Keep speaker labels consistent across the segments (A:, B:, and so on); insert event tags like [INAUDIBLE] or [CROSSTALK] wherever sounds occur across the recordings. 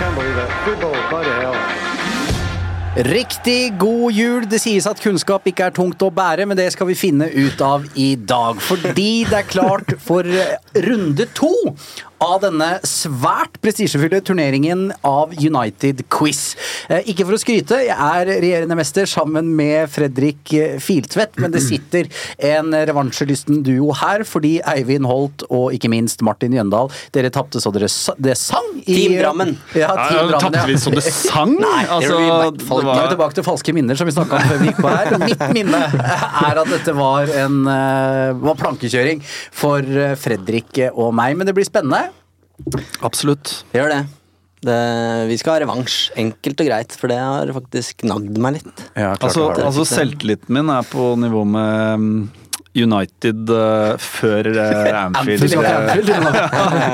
A: Can't believe it. Good ball. Bloody hell.
B: Riktig god jul. Det sies at kunnskap ikke er tungt å bære, men det skal vi finne ut av i dag. Fordi det er klart for eh, runde to av denne svært prestisjefylte turneringen av United Quiz. Eh, Ikke for å skryte, jeg er regjerende mester sammen med Fredrik eh, Filtvedt, men det sitter en revansjelysten duo her fordi Eivind Holt og ikke minst Martin Jøndal, dere tapte så dere sa det sang i
C: Team Drammen.
B: Ja,
D: Ja,
B: Team Drammen,
D: Tapte vi
B: [LAUGHS]
D: så det sang?
B: Nei, det
D: altså,
B: blir i hvert fall
D: det
B: ikke. Nå er vi
D: var,
B: tilbake til falske minner, som vi snakka om før vi gikk på her. Mitt minne er at dette var en eh, var plankekjøring for eh, Fredrik og meg, men det blir spennende.
C: Absolutt. Gjør det. det. Vi skal ha revansj. Enkelt og greit, for det har faktisk nagd meg litt.
D: altså, altså selvtilliten min er på nivå med mm, United eh, før eh,
B: [LAUGHS]
D: Anfield.
B: Anfield, ja, Anfield,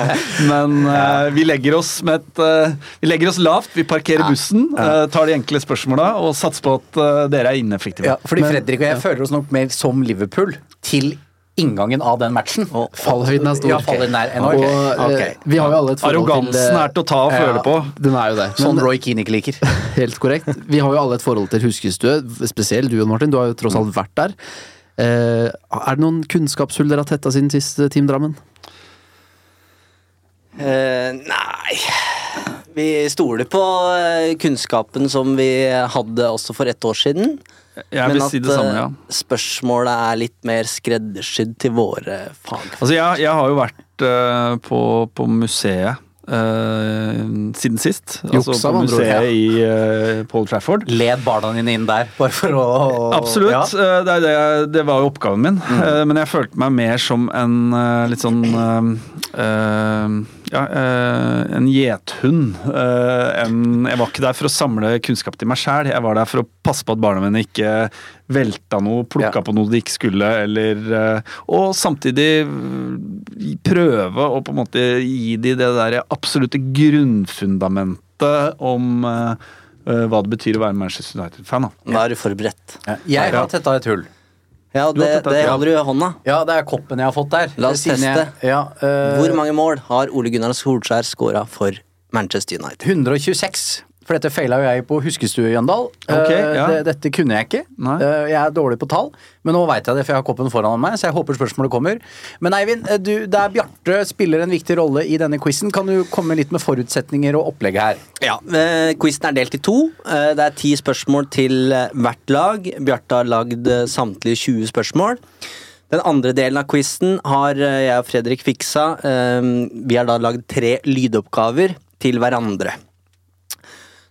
D: [LAUGHS] Men eh, vi legger oss med et eh, Vi legger oss lavt, vi parkerer bussen, eh, tar de enkle spørsmåla og satser på at eh, dere er ineffektive.
B: Ja, fordi Fredrik og jeg føler oss nok mer som Liverpool til inngangen av den matchen.
E: Fallhøyden er stor.
B: Ja, fallhøyden er enorm.
E: Og
B: Ok.
E: eh, vi har jo alle et forhold til
D: Arrogansen er til å ta
B: eh,
D: og føle på.
E: Den er jo det.
B: Sånn
E: Men-
B: Roy Keane ikke liker.
C: [LAUGHS]
E: Helt korrekt. Vi har jo alle et forhold til huskestue, spesielt du, Jon Martin. Du har jo tross alt
C: Mm.
E: vært der. Eh, er det noen kunnskapshull dere har tetta siden sist, eh, Team Drammen?
C: Eh, nei Vi stoler på eh, kunnskapen som vi hadde også for ett år siden.
D: Jeg vil si det samme,
C: eh,
D: ja.
C: spørsmålet er litt mer skreddersydd til våre fag.
D: Altså, jeg, jeg har jo vært eh, på, på museet eh, siden sist.
E: Juksa,
D: altså på
E: med andre ord, ja.
D: museet i eh, Paul Trafford.
B: Led barna dine inn der, bare for å
D: Absolutt.
B: Ja.
D: eh, Det, er det, jeg- det var jo oppgaven min. Eh, Men jeg følte meg mer som en eh, litt sånn eh, eh, Ja, eh, en gjethund. eh, enn- Jeg var ikke der for å samle kunnskap til meg sjæl. Jeg var der for å passe på at barna mine ikke velta noe,
E: Ja.
D: plukka på noe de ikke skulle, eller eh, Og samtidig eh, prøve å på en måte gi de det der absolutte grunnfundamentet om eh, eh, hva det betyr å være Manchester United-fan. da.
C: Da er du forberedt.
B: Jeg har tetta et hull.
C: Ja,
D: Du har
C: det,
D: tatt
C: det
D: et-
C: holder du i hånda.
B: Ja, det er koppen jeg har fått der.
C: La oss
B: Siden jeg-
C: teste.
B: Ja, eh,
C: Hvor mange mål har Ole Gunnar Solskjær scora for Manchester United?
B: 126. For dette feila jo jeg på huskestue, Jøndal.
D: Ok,
B: Eh,
D: ja.
B: det, dette kunne jeg ikke.
D: Nei.
B: Eh, jeg er dårlig på tall, men nå veit jeg det, for jeg har koppen foran meg. Så jeg håper spørsmålet kommer. Men Eivind, eh, du, det er Bjarte spiller en viktig rolle i denne quizen. Kan du komme litt med forutsetninger og opplegget her?
C: Ja, eh, Quizen er delt i to. Eh, Det er ti spørsmål til eh, hvert lag. Bjarte har lagd eh, samtlige 20 spørsmål. Den andre delen av quizen har eh, jeg og Fredrik fiksa. Eh, Vi har da lagd tre lydoppgaver til hverandre.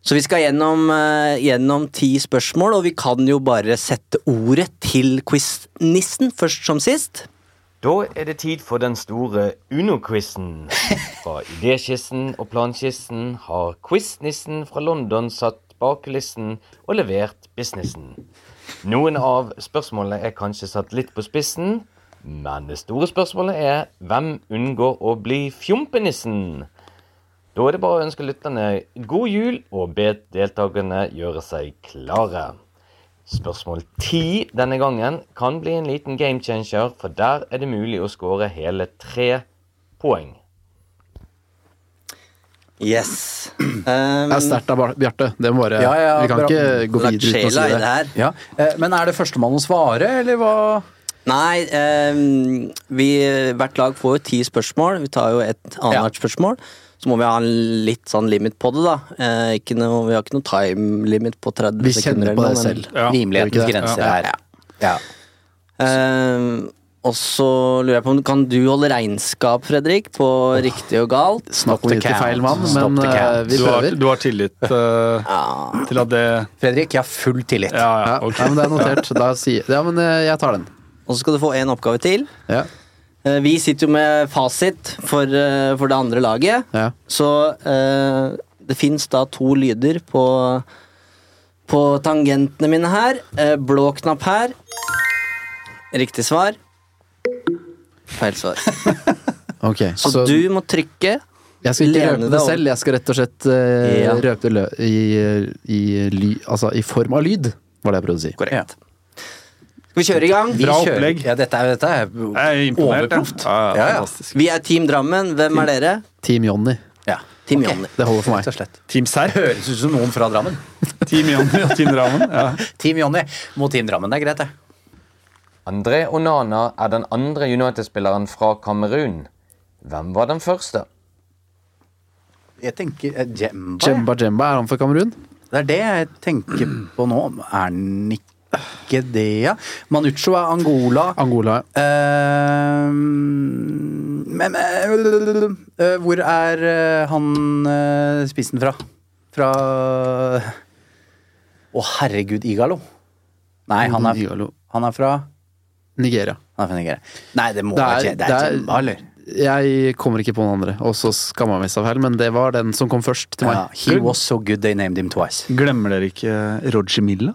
C: Så vi skal gjennom, eh, gjennom ti spørsmål, og vi kan jo bare sette ordet til quiznissen først som sist.
F: Da er det tid for den store Uno-quizen. Mm. Fra idéskissen og planskissen har quiznissen fra London satt bakelissen og levert businessen. Noen av spørsmålene er kanskje satt litt på spissen, men det store spørsmålet er hvem unngår å bli fjompenissen? Da er det bare å ønske lytterne god jul og be deltakerne gjøre seg klare. Spørsmål 10 denne gangen kan bli en liten game changer, for der er det mulig å skåre hele tre poeng.
C: Yes.
F: Det
C: Um,
F: er sterkt av Bar- Bjarte. Det må bare,
G: Ja, ja,
F: vi kan
G: bra.
F: ikke gå
C: Lagt
F: videre uten å
C: sjela i
F: si det.
C: det her.
G: Ja. Eh, Men er det førstemann å svare, eller hva?
C: Nei, eh, vi, hvert lag får jo ti spørsmål. Vi tar jo et annethvert spørsmål. Så må vi ha en litt sånn limit på det, da. Eh, ikke noe, vi har ikke noe time limit på 30
F: Vi kjenner
C: sekunder.
F: på det selv.
D: Ja.
F: Gjør
B: Rimelighetens
F: vi ikke det?
B: grenser
F: Ja.
B: her.
G: Ja.
C: Eh, og så lurer jeg på om kan du holde regnskap, Fredrik, på riktig og galt?
F: Snakk om
B: the
F: litt til
B: count.
F: feil mann,
B: Stop
F: men
B: the count.
F: eh, vi
D: Du har,
F: prøver.
D: du har tillit eh, til at det
B: Fredrik, jeg har full tillit.
D: Ja, ja.
F: Ja,
D: ok.
F: ja, men det er notert. Da sier, ja, men eh, jeg tar den.
C: Og så skal du få én oppgave til.
F: Ja.
C: Eh, Vi sitter jo med fasit for, eh, for det andre laget.
F: Ja.
C: Så eh, det fins da to lyder på, på tangentene mine her. Eh, blå knapp her. Riktig svar.
F: [LAUGHS]
C: Feil svar.
F: Ok,
C: Så,
F: så,
C: du må trykke.
F: jeg skal ikke
C: lene
F: røpe
C: deg
F: det
C: over.
F: selv. Jeg skal rett og slett eh,
C: Ja.
F: røpe det lø i, eh, i, ly, altså, i form av lyd, var det jeg prøvde å si.
B: Korrekt.
C: Skal vi kjøre i gang?
D: Bra
B: Kjør.
D: opplegg.
B: Ja, dette er, dette er
D: Jeg er imponert. jeg.
B: overproft.
D: Ja, ja,
B: Ja, ja.
D: fantastisk.
C: Vi er Team Drammen. Hvem er dere?
F: Team Johnny.
B: Ja.
C: Team Jonny.
F: Det holder for
B: Rett og
F: meg.
B: slett.
D: Team Serp.
B: Høres ut som noen fra Drammen.
D: Team Johnny og Team Drammen. Ja.
B: Team Jonny mot Team Drammen. Det er greit, det.
H: André Onana er den andre United-spilleren fra Kamerun. Hvem var den første?
B: Jeg tenker eh, Djemba.
F: Jemba Jemba, er han for Kamerun?
B: ja. Det er det jeg tenker på nå. Er han ikke det, ja? Manucho er Angola.
F: Angola. ja.
B: Eh, men eh, Hvor er eh, han eh, spissen fra? Fra Å, herregud, Igalo. Nei, han er,
F: Igalo.
B: han er fra
F: Nigeria.
B: Han er fra Nigeria. Nei, det må
F: Det er-
B: være Dje- Det er
F: det er-
B: Jemba, eller?
F: Jeg kommer ikke på noen andre, og så skammer jeg meg seg feil, men det var den som kom først til meg.
B: Ja, he was so good they named him twice.
D: Glemmer dere ikke Roger Milla?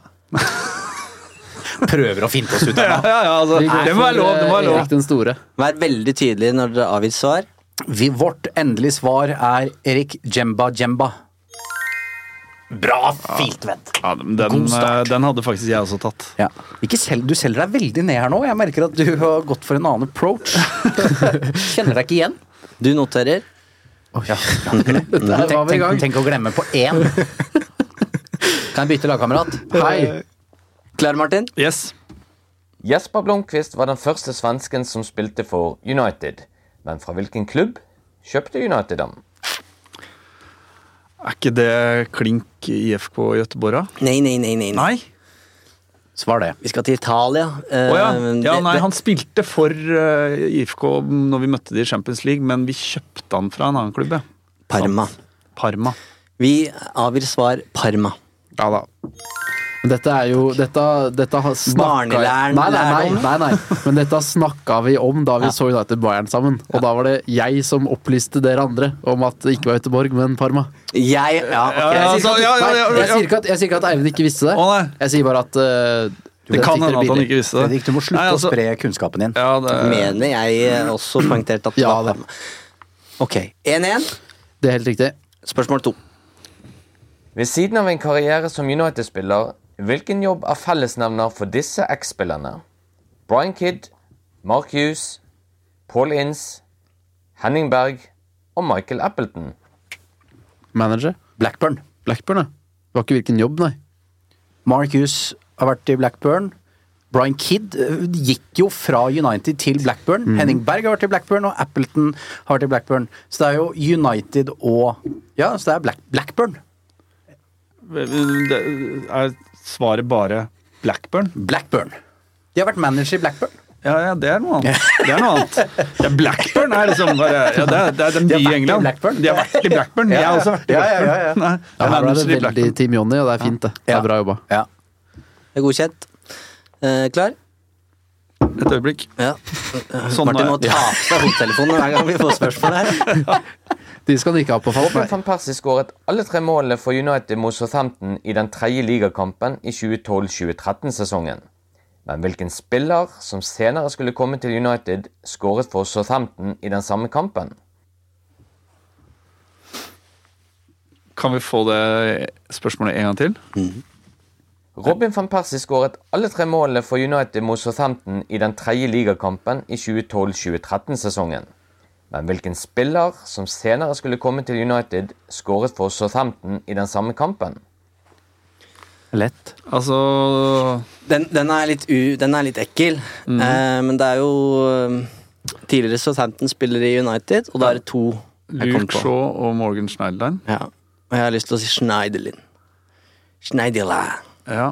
B: Prøver å finte oss [LAUGHS] ut av det.
D: ja, ja, altså, det må være lov! Det må være
F: Erik
D: lov.
F: den store.
C: Vær veldig tydelige når dere avgir svar.
B: Vi, vårt endelige svar er Erik Jemba Jemba. Bra filtvett!
D: Ja, men den, eh, den hadde faktisk jeg også tatt.
B: Ja. Ikke selv, du selger deg veldig ned her nå. Jeg merker at du har gått for en annen
F: [LAUGHS]
B: approach. Kjenner deg ikke igjen.
C: Du noterer.
F: Der var
B: Tenk,
F: vi i
B: tenk,
F: gang.
B: tenk å glemme på én. Kan jeg bytte lagkamerat?
F: Hei.
C: Klar, Martin?
D: Yes.
H: Jesper Blomqvist var den første svensken som spilte for United. Men fra hvilken klubb kjøpte United ham?
D: Er ikke det klink IFK Göteborg, da?
C: Nei, nei, nei. nei.
D: Nei.
B: Svar det.
C: Vi skal til Italia. Eh,
D: Å ja. ja.
C: det-
D: Nei,
C: det-
D: han spilte for eh, IFK når vi møtte de i Champions League, men vi kjøpte han fra en annen klubb, ja.
C: Parma.
D: Parma.
C: Vi avgir svar Parma.
F: Ja da. Men dette er jo Dette, dette har snakka
C: Barnelæren-
F: nei, nei, nei,
C: lærdom.
F: nei, nei. Men dette snakka vi om da vi så United Bayern sammen. Og da var det jeg som opplyste dere andre om at det ikke var Göteborg, men Parma.
C: Jeg Ja, ok.
D: Ja, altså, ja, ja,
F: Nei,
D: ja,
F: jeg
D: ja.
F: sier ikke at, jeg sier ikke at Eivind ikke visste det.
D: Å, nei.
F: Jeg sier bare at eh,
D: Det
F: dere
D: kan
F: fikk dere
D: hende at han
F: billig.
D: ikke visste det.
B: Fredrik, du må slutte
D: Nei, altså,
B: å spre kunnskapen din.
D: ja, det,
C: Mener jeg eh, også poengterte at det
F: Ja,
C: var
F: det.
C: Parma. Ok. 1-1.
F: Det er helt riktig.
C: Spørsmål to.
H: Ved siden av en karriere som United-spiller, hvilken jobb er fellesnevner for disse X-spillerne? Brian Kidd, Mark Hughes, Paul Ince, Henning Berg og Michael Appleton.
F: Manager.
B: Blackburn.
F: Blackburn, ja. Det var ikke hvilken jobb, nei.
B: Mark Hughes har vært i Blackburn. Brian Kidd eh, gikk jo fra United til Blackburn.
F: Mm.
B: Henning Berg har vært i Blackburn, og Appleton har vært i Blackburn. Så det er jo United og Ja, så det er Black Blackburn.
D: det er svaret bare Blackburn?
B: Blackburn. De har vært manager i Blackburn.
D: Ja, ja, det er noe annet. Det er noe annet. Ja, Blackburn er liksom bare ja, det, er, det er den
B: De har
D: by
B: vært
D: i
B: i
D: England.
B: Blackburn.
D: De har vært i Blackburn. Jeg har også vært i
B: Ja, ja,
D: Blackburn.
B: ja, ja.
D: Nei,
F: Ja,
D: jeg er
F: her var det
D: manager i
F: veldig
D: Blackburn.
F: Team Johnny, og det er fint, det. Det
B: Ja.
F: er bra jobba.
B: Ja.
C: Det er godkjent. Eh, klar?
D: Et øyeblikk. [LAUGHS]
C: Ja.
D: Sånn
C: Martin må
D: er-
C: ta av seg hodetelefonen hver gang vi får spørsmål her.
F: De skal han ikke ha på fast.
H: Robin
F: Nei.
H: van Persie skåret alle tre målene for United mot Southampton i den tredje ligakampen i 2012-2013-sesongen. Men hvilken spiller som senere skulle komme til United, skåret for Southampton i den samme kampen?
D: Kan vi få det spørsmålet en gang til?
H: Robin van Persie skåret alle tre målene for United mot Southampton i den tredje ligakampen i 2012-2013-sesongen. Men hvilken spiller som senere skulle komme til United, skåret for Southampton i den samme kampen?
F: Lett.
D: Altså
C: Den, den, er, litt u, den er litt ekkel,
D: Mm.
C: eh, men det er jo eh, Tidligere Southampton-spillere i United, og da er det to jeg kom
D: Luke
C: på.
D: Shaw og Morgan Schneiderlein.
C: Ja. Og jeg har lyst til å si Schneiderlin. Schneiderlin.
D: Ja.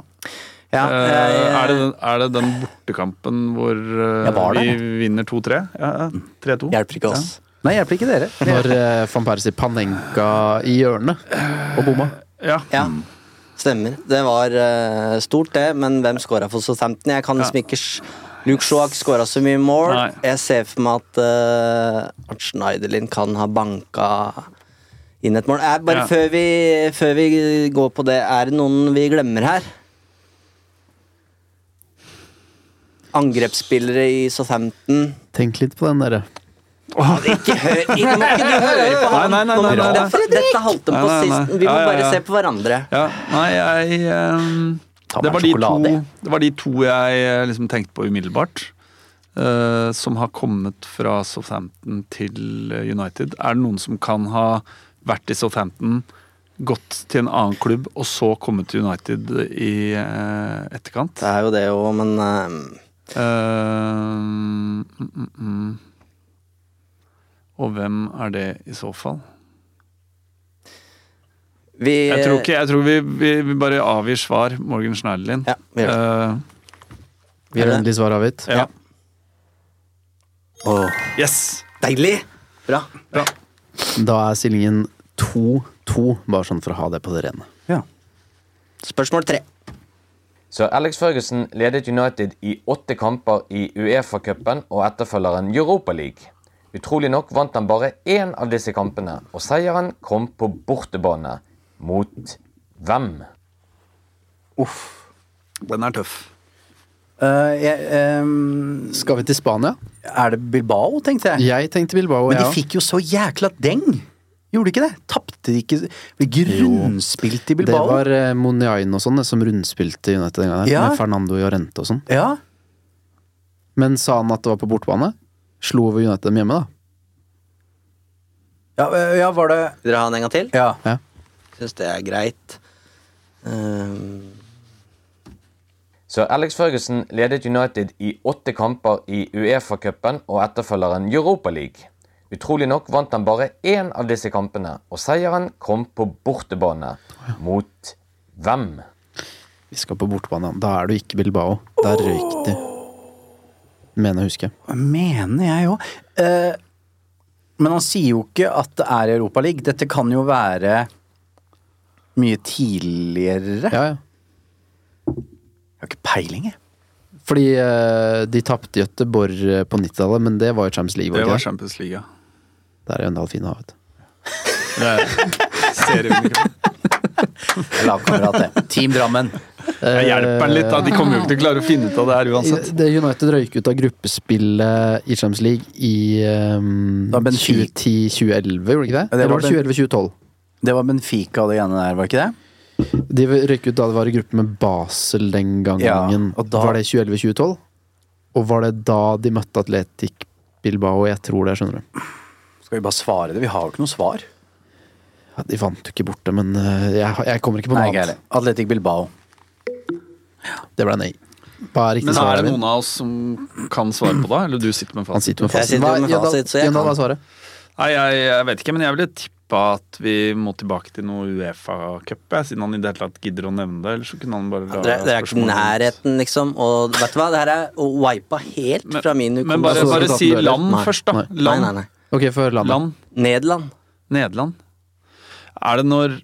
C: Ja,
D: Eh,
C: jeg,
D: er, det den, er det den bortekampen hvor eh,
G: Jeg var der,
D: vi
G: jeg.
D: vinner 2-3? Ja, ja, 3-2.
C: hjelper ikke oss.
G: Nei, hjelper ikke dere.
F: Når eh, van Persie panenka i hjørnet og bomma.
D: Ja.
C: Ja, stemmer. Det var eh, stort, det, men hvem scora for Southampton? Jeg kan liksom
D: Ja.
C: ikke s- Luke Shaw har ikke scora så mye mål.
D: Nei.
C: Jeg ser for meg at, uh, at Schneiderlin kan ha banka inn et mål. Eh, bare
D: Ja.
C: før, vi, før vi går på det, er det noen vi glemmer her? Angrepsspillere i Southampton.
F: Tenk litt på den, dere.
C: Ikke hør, ikke, må ikke du høre på han!
D: Nei, nei, nei,
C: Nå må-
D: nei, nei.
C: Dette, dette holdt de på
D: Nei, nei, nei.
C: sist. Vi må
D: Ja, ja,
C: bare
D: ja.
C: se på hverandre.
D: Ja, nei, jeg ehm,
G: Ta
D: det,
G: meg
D: var
G: en
D: de to,
G: sjokolade.
D: det var de to jeg eh, liksom tenkte på umiddelbart. eh, som har kommet fra Southampton til eh, United. Er det noen som kan ha vært i Southampton, gått til en annen klubb og så kommet til United i eh, etterkant?
C: Det er jo det òg, men eh,
D: Ehm, mm, mm, mm. Og hvem er det i så fall?
C: vi
D: Jeg tror, ikke, jeg tror vi, vi, vi bare avgir svar, Morgan Schneiderlin.
C: Ja, vi gjør
D: Eh,
F: Vi har endelig svar avgitt.
D: Ja. Yes!
C: Deilig! Bra.
D: Bra.
F: Da er stillingen 2-2, bare sånn for å ha det på det rene.
C: Spørsmål tre.
H: Så Alex Ferguson ledet United i åtte kamper i Uefa-cupen og etterfølgeren Europa League. Utrolig nok vant han bare én av disse kampene, og seieren kom på bortebane. Mot hvem?
D: Den er tøff.
B: Eh, jeg, ehm,
F: Skal vi til Spania?
B: er det Bilbao, tenkte jeg?
F: Jeg tenkte Bilbao.
B: Men de
F: ja.
B: fikk jo så jækla deng! Gjorde de ikke det? Tapte de ikke Ble ikke rundspilt i
F: Det
B: Bilbao?
F: var eh, Monjain og sånn det, som rundspilte United den gangen.
B: Ja.
F: Med Fernando Llorente og sånn.
B: Ja.
F: Men sa han at det var på bortebane? Slo over United dem hjemme, da?
B: Ja, eh, ja, var det
C: Vil dere ha en en gang til?
B: Ja.
C: Syns det er greit. Ehm,
H: Så Alex Ferguson ledet United i åtte kamper i Uefa-cupen og etterfølgeren Europa League. Utrolig nok vant han bare én av disse kampene, og seieren kom på bortebane. Mot hvem?
F: Vi skal på bortebane. Da er du ikke Bilbao. Der røyk de. Mener jeg husker.
B: Mener jeg òg. men han sier jo ikke at det er Europaliga. Dette kan jo være mye tidligere.
F: Ja, ja.
B: Jeg har ikke peiling, jeg.
F: Fordi eh, de tapte Göteborg eh, på 90-tallet, men det var jo Champions League.
D: Det
F: Var det? ikke
D: var
F: det?
D: Champions League, ja.
F: Der er Jøndal Fina, vet du.
B: Lagkamerat, det.
F: [LAUGHS]
B: Team Drammen.
D: Jeg hjelper den litt, da. De kommer jo ikke til å klare å finne ut av det her uansett.
F: Det United røyk ut av gruppespillet i Champions League i um,
B: Da Benfica-
F: 2010-2011, gjorde de ikke det?
B: var
F: Eller var det
B: Ben-
F: 2011-2012?
B: Det var Benfica og det ene der, var ikke det?
F: De røyk ut da det var i gruppe med Basel den gangen.
B: Ja, og da-
F: Var det 2011-2012? Og var det da de møtte Atletic Bilbao? Jeg tror det, skjønner du.
B: Skal vi bare svare det? Vi har jo ikke noe svar.
F: Ja, de vant jo ikke borte, men eh, jeg, jeg kommer ikke på noe
B: Nei, ikke heller.
F: annet.
B: Atletic Bilbao.
F: Det ble nei. Hva er riktig
D: Men
F: svar?
D: er det
F: Eivind?
D: noen av oss som kan svare på det? Eller du sitter med
F: Han
D: fasit?
F: sitter med
C: Jeg
F: fasit.
C: sitter
F: Hva-
C: med
F: Jøndal-
C: fasit, så jeg
F: Jøndal, hva
C: kan.
F: er svaret?
D: Nei, jeg, jeg vet ikke, men jeg ville tippa at vi må tilbake til noe Uefa-cup, jeg, siden han i det hele tatt gidder å nevne det. Ellers så kunne han bare la
C: Dere dere er ikke i
D: spørsmålet rundt.
C: nærheten, liksom. Og vet du hva, det her er wipa helt
D: Men-
C: fra min
D: Men bare,
C: hukommelse.
F: Altså,
D: bare
F: resultatet
D: si
F: eller?
D: land
C: Nei.
D: først, da.
F: Nei.
C: Nei,
D: Land.
C: nei, nei.
F: Ok, få høre landet.
D: land.
C: Nederland.
D: Nederland. Er det når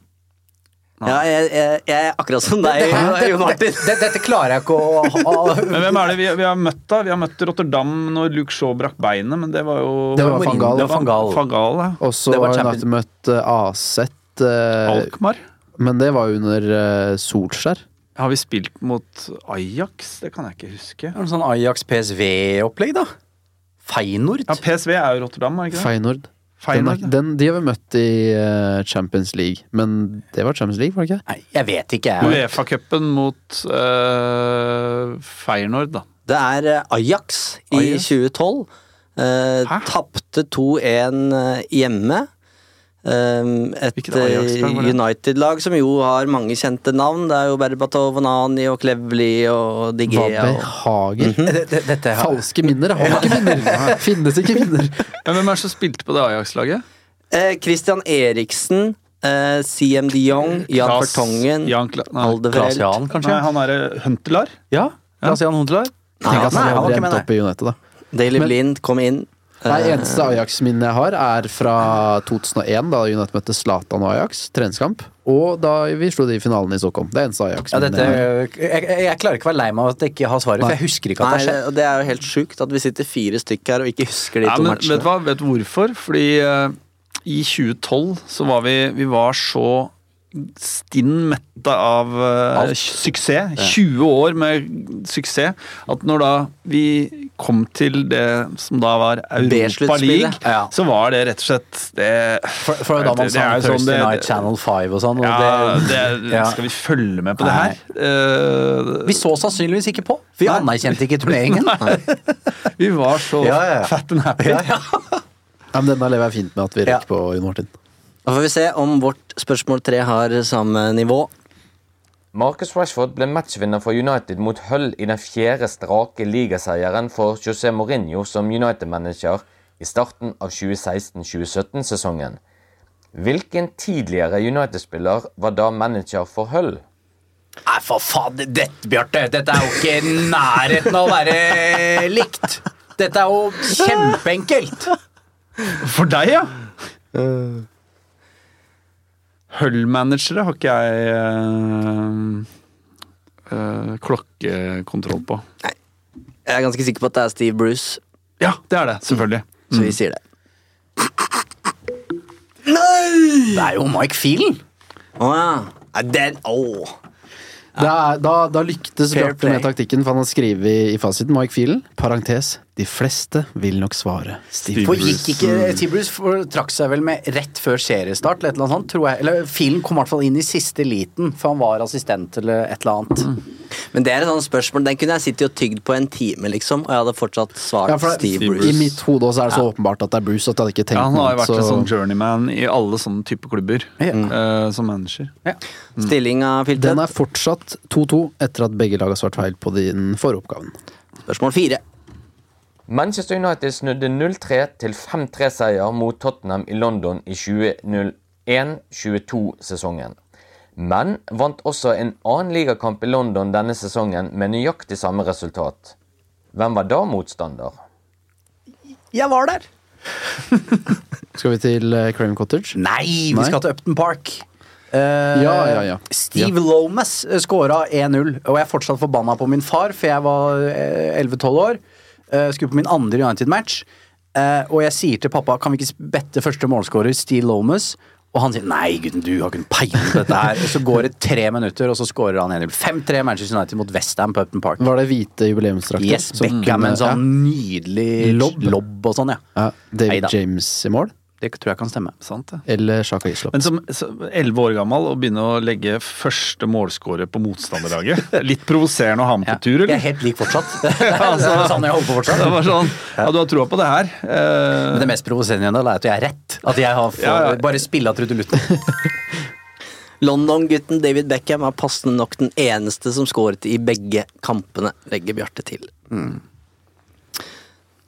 C: Ja, jeg, jeg, jeg er akkurat som deg, [LAUGHS] Jo Martin.
B: Dette, dette klarer jeg ikke å ha.
D: Men hvem er det vi, vi har møtt, da? Vi har møtt Rotterdam når Luke Shaw brakk beinet, men det var jo
F: Det var Van Gaal.
B: Det var Van Gaal.
D: Van Gaal, ja.
F: Og så
B: Det var
F: har
B: Champions-
F: United møtt eh, AZ eh,
D: Alkmaar.
F: Men det var jo under eh, Solskjær.
D: Har vi spilt mot Ajax? Det kan jeg ikke huske.
B: Noe sånn Ajax-PSV-opplegg, da. Feinord.
D: Ja, PSV er jo Rotterdam, er det ikke det?
F: Feyenoord.
D: Feyenoord,
F: Den, er- den, de har vi møtt i eh, Champions League, men det var Champions League, var det ikke?
B: Nei, jeg vet ikke, jeg.
D: Uefa-cupen mot eh, Feyenoord, da.
C: Det er eh, Ajax i
D: Ajax?
C: 2012. Eh,
D: Hæ?
C: Tapte 8-2-1 eh, hjemme. Um, et
D: Hvilket Ajax-lag var
C: eh,
D: det?
C: United-lag som jo har mange kjente navn. Det er jo Berbatov, Nani og Klevli og Digea.
F: Vabbe
C: Og...
F: Hager.
B: Det- det- Dette her
F: Falske minner? Jeg Har ikke minner! Finnes ikke minner.
D: Ja, hvem er det som spilte på det Ajax-laget?
C: Eh, Christian Eriksen, eh, CM de Jong, Jan
D: Klas-
C: Fertongen,
D: Jan Kla- nei,
C: Aldevrelt
B: Klaas-Jan, kanskje?
D: Nei, han er eh, Huntelaar.
B: Ja. Klaas-Jan Huntelar?
F: Tenk at han
B: nei, han var
F: hadde
B: ikke med,
F: endt
B: nei.
F: opp i United, da.
C: Daily Blind kom inn.
F: Nei, eneste Ajax-minnet jeg har, er fra 2001, da United møtte Zlatan og Ajax. Treningskamp. Og da vi slo de i finalen i Stockholm. Det er eneste
B: Ja, dette,
F: Ajax-minnet. jeg har.
B: jeg, jeg, jeg klarer ikke å være lei meg av at jeg ikke har svaret, for jeg husker ikke at
C: Nei,
B: det har
C: det,
B: skjedd.
C: og det er jo helt sjukt at vi sitter fire stykker her og ikke husker de
D: Ja,
C: to
D: men
C: matchene.
D: vet du hva? Vet du hvorfor? Fordi eh, i 2012 så var vi Vi var så stinn mette av eh, suksess. 20 år med suksess. At når da vi kom til det som da var Europa
C: B-sluttspillet.
D: League,
B: Ja.
D: så var det rett og slett det
B: For, for da man
D: Det- det
B: sa
D: er jo sånn
B: Thursday
D: det-
B: Night Channel 5 og sånn. Og
D: ja, det,
B: ja.
D: Skal vi følge med på det
B: Nei.
D: her? Eh,
B: Vi så sannsynligvis ikke på. Vi anerkjente
H: [LAUGHS]
B: ikke turneringen.
D: vi var så
B: Ja, ja, [LAUGHS] ja.
D: fat and happy.
F: Ja, men denne lever jeg fint med at vi
B: Ja.
F: rekker på, Jon Martin.
C: Da får vi se om vårt spørsmål tre har samme nivå.
H: Marcus Rashford ble matchvinner for United mot Hull i den fjerde strake ligaseieren for José Mourinho som United-manager i starten av 2016-2017-sesongen. Hvilken tidligere United-spiller var da manager for Hull?
B: Nei, for faen, dette, Bjarte, dette er jo ikke i nærheten av å være likt. Dette er jo kjempeenkelt.
D: For deg, ja! Hull-managere har ikke jeg eh, eh, klokkekontroll på.
C: Jeg er ganske sikker på at det er Steve Bruce,
D: Ja, det er det, selvfølgelig.
C: så
B: Mm.
C: vi sier det.
B: Det er jo Mike Feelen.
C: Å ja. Nei, Den, å.
F: Det er, da, da lyktes
C: Fair
F: Bjarte med
C: play.
F: taktikken, for han har skrevet i, i fasiten, Mike Fielen, parentes, de fleste vil nok svare Steve
B: For gikk ikke Tibrus for- trakk seg vel med rett før seriestart, eller et eller annet sånt, tror jeg. Eller Feelen kom i hvert fall inn i siste liten, for han var assistent eller et eller annet.
C: Men det er et sånt spørsmål. Den kunne jeg sittet og tygd på en time, liksom, og jeg hadde fortsatt svart
F: Ja, for det-
C: Steve
F: I
C: Bruce.
F: mitt hode også er det så åpenbart at det er Bruce at jeg hadde ikke tenkt
D: Ja, han har jo
F: noe
D: vært en sånn
F: annet, så
D: journeyman i alle sånne type klubber eh, som manager.
C: Stillinga,
F: Mm. den
C: Filtret.
F: er fortsatt 2-2 etter at begge lag har svart feil på den forrige oppgaven.
C: Spørsmål fire.
H: Manchester United snudde 0-3 til 5-3-seier mot Tottenham i London i 2001-22-sesongen. Men vant også en annen ligakamp i London denne sesongen med nøyaktig samme resultat. Hvem var da motstander?
B: Jeg var der.
F: Skal vi til eh, Craven Cottage?
B: Nei, vi
F: Nei.
B: skal til Upton Park. Eh,
F: Ja, ja, ja.
B: Steve Lomas eh, skåra 1-0, og jeg er fortsatt forbanna på min far, for jeg var eh, 11-12 år. eh, Skulle på min andre United-match, eh, og jeg sier til pappa kan vi ikke bette første målskårer, Steve Lomas? Og han sier nei, gutten, du har ikke en peiling på dette her. Og så går det tre minutter, og så skårer han 1-0. 5-3 Manchester United mot Westham på Upton Park.
F: Var det hvite jubileumsdrakter?
B: Yes,
F: som
B: Beckham med en
F: kunne-
B: sånn nydelig lobb. og sånn, ja.
F: ja. Ja, David
B: Neida.
F: James i mål?
B: Det tror jeg kan stemme.
D: Sant det?
F: Eller Sjaka Islop?
D: Men som elleve år gammel å begynne å legge første målskårer på motstanderlaget [LAUGHS] det er Litt provoserende å ha med på
B: Jeg
D: tur,
B: er
D: eller?
B: helt lik
D: [LAUGHS]
B: fortsatt. [LAUGHS] Det er sånn jeg holder på fortsatt.
D: Det var sånn, ja, du har troa på det her. eh,
B: Men sånn- det mest provoserende igjen da, er at jeg er rett. At jeg har for,
D: Ja, ja.
B: bare spilla trudelutten.
C: London-gutten David Beckham er passende nok den eneste som skåret i begge kampene, legger Bjarte til.
F: Mm.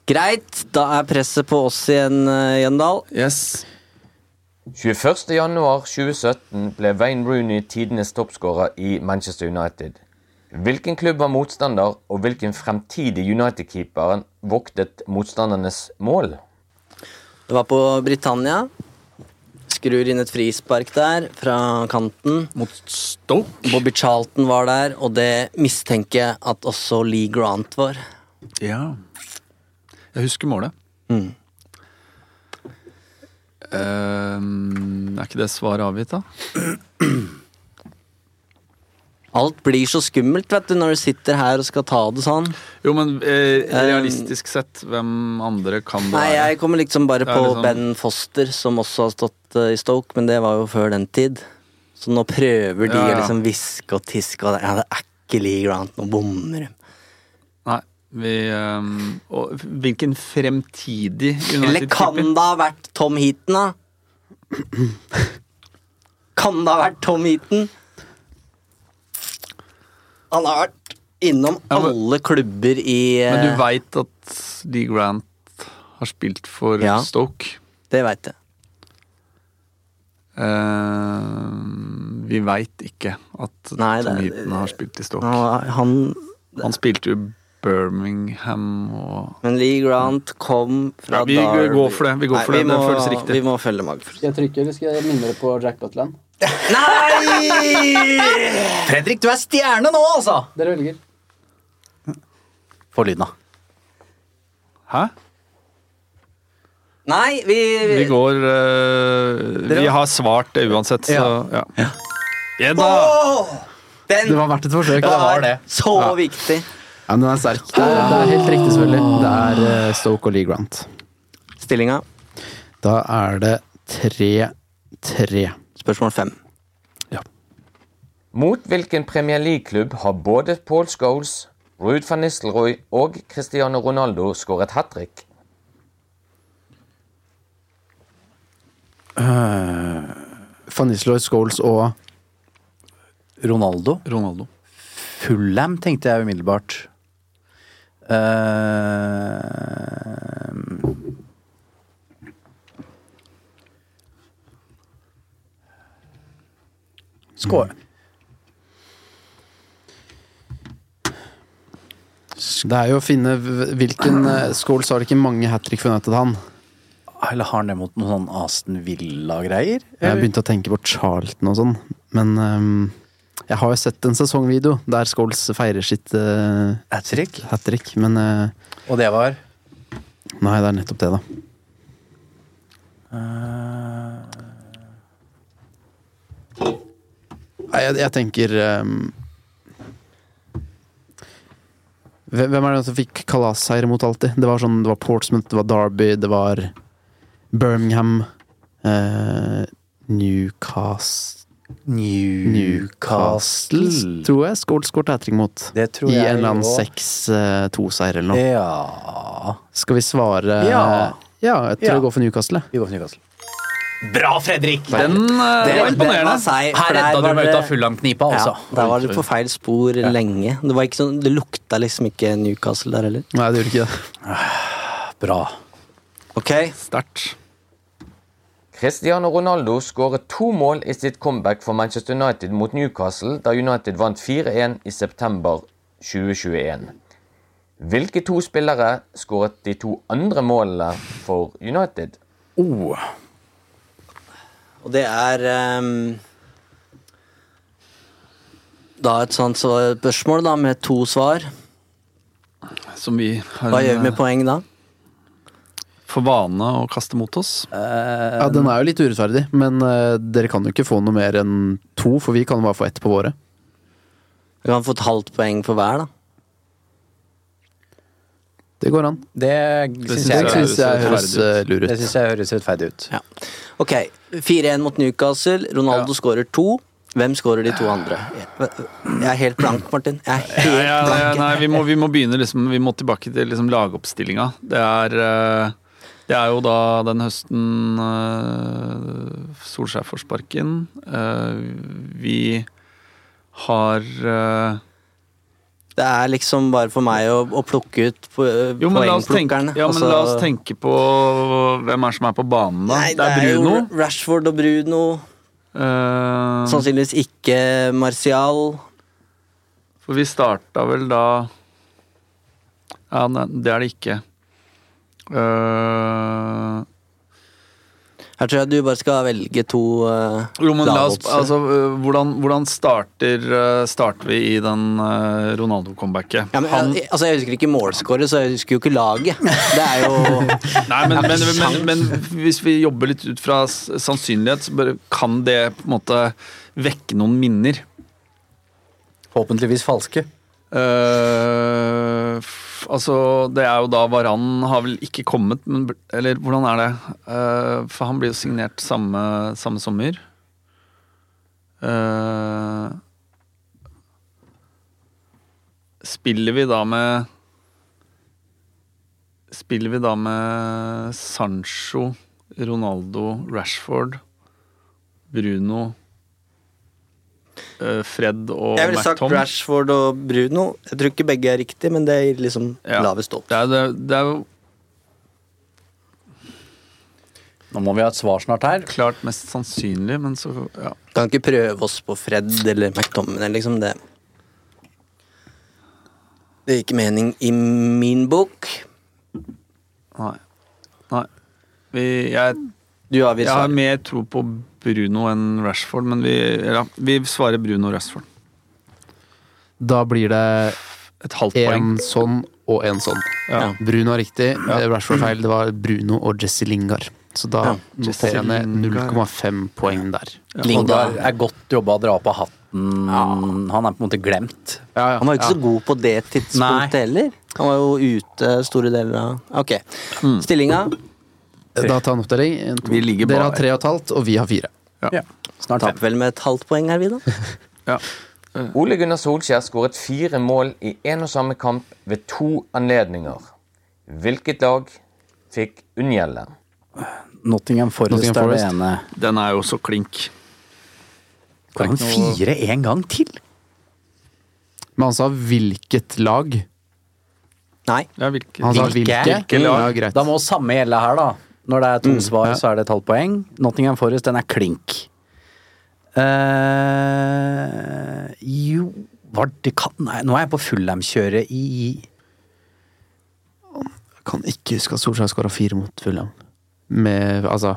C: Greit, da er presset på oss igjen, eh, Gjøndal.
D: yes.
H: 21.1.2017 ble Wayne Rooney tidenes toppskårer i Manchester United. Hvilken klubb var motstander, og hvilken fremtidig United-keeper voktet motstandernes mål?
C: Det var på Britannia. Skrur inn et frispark der fra kanten.
D: Mot Stoke.
C: Bobby Charlton var der, og det mistenker jeg at også Lee Grant var.
D: Ja. Jeg husker målet.
C: Mm.
D: Eh, er ikke det svaret avgitt, da?
C: Alt blir så skummelt vet du, når du sitter her og skal ta det sånn.
D: Jo, men eh, realistisk sett, hvem andre kan det
C: Ehm. Nei,
D: være?
C: Jeg kommer liksom bare
D: Det er
C: på
D: liksom-
C: Ben Foster, som også har stått eh, i Stoke, men det var jo før den tid. Så nå prøver de
D: Ja, ja.
C: å liksom hviske og tiske, og det, ja, det er ikke Lee Grant, nå bommer de.
D: Nei. Vi, ehm, og hvilken fremtidig
C: Eller kan
D: United-keeper?
C: det ha vært Tom Heaton, da? [CLEARS THROAT] Kan det ha vært Tom Heaton? Han har vært innom
D: Ja, men-
C: alle klubber i
D: Men du
C: eh,
D: veit at Dee Grant har spilt for
C: Ja.
D: Stoke.
C: Det veit jeg.
D: Eh, vi veit ikke at
C: Nei,
D: Tom
C: det-
D: Heaton har spilt i Stoke.
C: Han, han
D: Han spilte jo Birmingham og
C: Men Lee Grant kom fra
D: Ja, vi
C: Derby.
D: går for det, vi går for det,
C: vi
D: det
C: må,
D: føles riktig.
C: Vi må følge magefølelsen.
G: Skal jeg trykke, eller skal jeg minne dere på jackpotland?
C: Nei!
B: Fredrik, du er stjerne nå, altså!
G: Dere velger.
B: Få lyden av.
D: Hæ?
C: Nei, vi,
D: Vi går eh, Vi har svart det uansett, så ja. ja. da!
C: Åh! Den
F: Det var verdt et forsøk.
C: var så viktig.
F: Ja, men den er sterk. Det er, det er helt riktig, selvfølgelig. Det er eh, Stoke og Lee Grant.
C: Stillinga
F: Da er det 3-3.
C: spørsmål fem.
H: Mot hvilken Premier League-klubb har både Paul Scholes, Ruud van Nistelrooy og Cristiano Ronaldo skåret hat trick?
F: Eh, Van Nistelrooy, Scholes og
B: Ronaldo.
D: Ronaldo.
B: Fulham, tenkte jeg umiddelbart. Eh, Skår.
F: Det er jo å finne v- hvilken eh, Scholes har ikke mange hat trick for United, han.
B: Eller har han det mot noen sånn Aston Villa-greier?
F: Jeg begynte å tenke på Charlton og sånn, men ehm, jeg har jo sett en sesongvideo der Scholes feirer sitt uh,
B: Hat trick.
F: hat trick, men eh,
B: Og det var
F: nei, det er nettopp det, da.
B: Eh.
F: Nei, jeg, jeg tenker ehm, hvem, hvem er det som fikk kalasseier mot alltid? Det var sånn, det var Portsmouth, det var Derby, det var Birmingham eh, Newcastle Newcastle,
B: Newcastle.
F: tror jeg Scholes skåret hat trick mot.
B: Det tror
F: I
B: jeg
F: en eller annen
B: også.
F: 6-2-seier eller noe.
B: Ja
F: Skal vi svare
B: Ja.
F: Ja, jeg tror
B: Ja.
F: jeg går for Newcastle. jeg.
B: Vi går for Newcastle. Bra, Fredrik!
D: Den eh,
B: Det-
D: var
B: den
D: imponerende.
C: var seig, for
B: Her
C: der
B: redda
C: var
B: du meg
C: det-
B: ut av Fulham-knipa,
C: Ja,
B: altså.
C: der var du på feil spor lenge. Det, var ikke sånn, det lukta liksom ikke Newcastle der heller.
F: Nei, det gjorde ikke det.
B: Bra.
C: Ok,
D: Sterkt.
H: Cristiano Ronaldo skåret to mål i sitt comeback for Manchester United mot Newcastle da United vant 4-1 i september 2021. Hvilke to spillere skåret de to andre målene for United?
C: Og det er ehm, Da et sånt så- spørsmål da, med to svar.
D: Som vi har
C: Hva gjør vi
D: en,
C: med poeng da?
D: eh, for vane å kaste mot oss.
F: Ja, Den er jo litt urettferdig, men eh, dere kan jo ikke få noe mer enn to, for vi kan jo bare få ett på våre.
C: Vi kan få et halvt poeng for hver, da.
F: Det går an.
B: Det syns
D: synes
F: Det
B: jeg,
D: jeg
F: syns jeg høres
D: rettferdig
F: eh, lur
B: det
F: ut.
B: synes jeg høres rettferdig ut.
C: Ja. Ok, 4-1 mot Newcastle. Ronaldo skårer to. Hvem skårer de to andre? Jeg er helt blank, Martin. Jeg
D: Ja,
C: er helt
D: ja, ja,
C: blank.
D: nei, vi må, vi må begynne liksom, Vi må tilbake til liksom, lagoppstillinga. Det er eh, Det er jo da den høsten eh, Solskjær får sparken. Eh, Vi har eh,
C: Det er liksom bare for meg å, å plukke ut po-
D: Jo, men la oss tenke,
C: poengplukkerne.
D: ja, men
C: Altså-
D: la oss tenke på hvem er som er på banen, da.
C: Nei,
D: det er Bruno.
C: jo Sånn- Rashford og Bruno.
D: Eh,
C: Sannsynligvis ikke Martial.
D: For vi starta vel da Ja, ne- det er det ikke. Eh,
C: Her tror jeg du bare skal velge to uh,
D: Jo, men la oss, altså, øh, hvordan, hvordan starter, øh, starter vi i den øh, Ronaldo-comebacket?
C: ja, men, jeg, altså, jeg husker ikke målskåret, så jeg husker jo ikke laget. Det er jo
D: [LAUGHS] Nei, men, men, men, men hvis vi jobber litt ut fra s- sannsynlighet, så bare, kan det på en måte vekke noen minner.
B: Forhåpentligvis falske.
D: Eh, f- altså, det er jo da Varan har vel ikke kommet, men bl- Eller hvordan er det? Eh, for han blir jo signert samme, samme sommer. Eh, spiller vi da med spiller vi da med Sancho, Ronaldo, Rashford, Bruno eh, Fred og
C: Jeg ville sagt
D: McTom.
C: Rashford og Bruno. Jeg tror ikke begge er riktig, men det gir liksom
D: Ja.
C: lavest opp.
D: Det er, det, er, det er jo
B: Nå må vi ha et svar snart her.
D: klart mest sannsynlig, men så ja.
C: Kan ikke prøve oss på Fred eller McTominay, liksom. Det Det gir ikke mening i min bok.
D: Nei. Nei. Vi, jeg,
C: Du avgir
D: jeg har
C: svar.
D: mer tro på Bruno enn Rashford, men vi, ja, vi svarer Bruno og Rashford.
F: Da blir det
D: Et halvt poeng.
F: en sånn og en sånn.
D: Ja.
F: Bruno er riktig, Rashford feil. Det var Bruno og Jesse Lingard. Så da
C: Ja,
F: noterer jeg ned
D: Lingard.
F: 0,5 poeng der.
C: Lingard.
B: Det er godt jobba å dra på hatten. Han er på en måte glemt.
C: Han var jo ikke så god på det tidspunktet
B: Nei.
C: heller. Han var jo ute store deler av Ok.
D: Mm.
C: Stillinga
F: Da tar jeg en oppdeling. En, to.
D: Vi ligger
F: Dere
D: bare-
F: har tre og et halvt, og vi har fire.
B: Snart
C: taper vel med et halvt poeng her, vi,
D: [LAUGHS]
C: da.
D: Ja.
H: Ole Gunnar Solskjær skåret fire mål i én og samme kamp ved to anledninger. Hvilket lag fikk unngjelde?
B: Nottingham Forest
F: Nottingham
B: er det
F: Forest.
B: ene.
D: Den er jo så klink.
B: Kan han fire en gang til?
F: Men han sa hvilket lag.
C: Nei.
D: Ja, hvilke,
F: Han sa
B: Hvilke?
F: hvilke.
D: Hvilke lag?
F: Ja, greit. Mm,
B: Da må samme gjelde her, da. Når det er to svar, så er det et halvt poeng. Nottingham Forest, den er klink. Eh, jo var det kan, nei, Nå er jeg på Fullham-kjøret i
F: Jeg kan ikke huske at Solskjær skåra fire mot Fulham. Med altså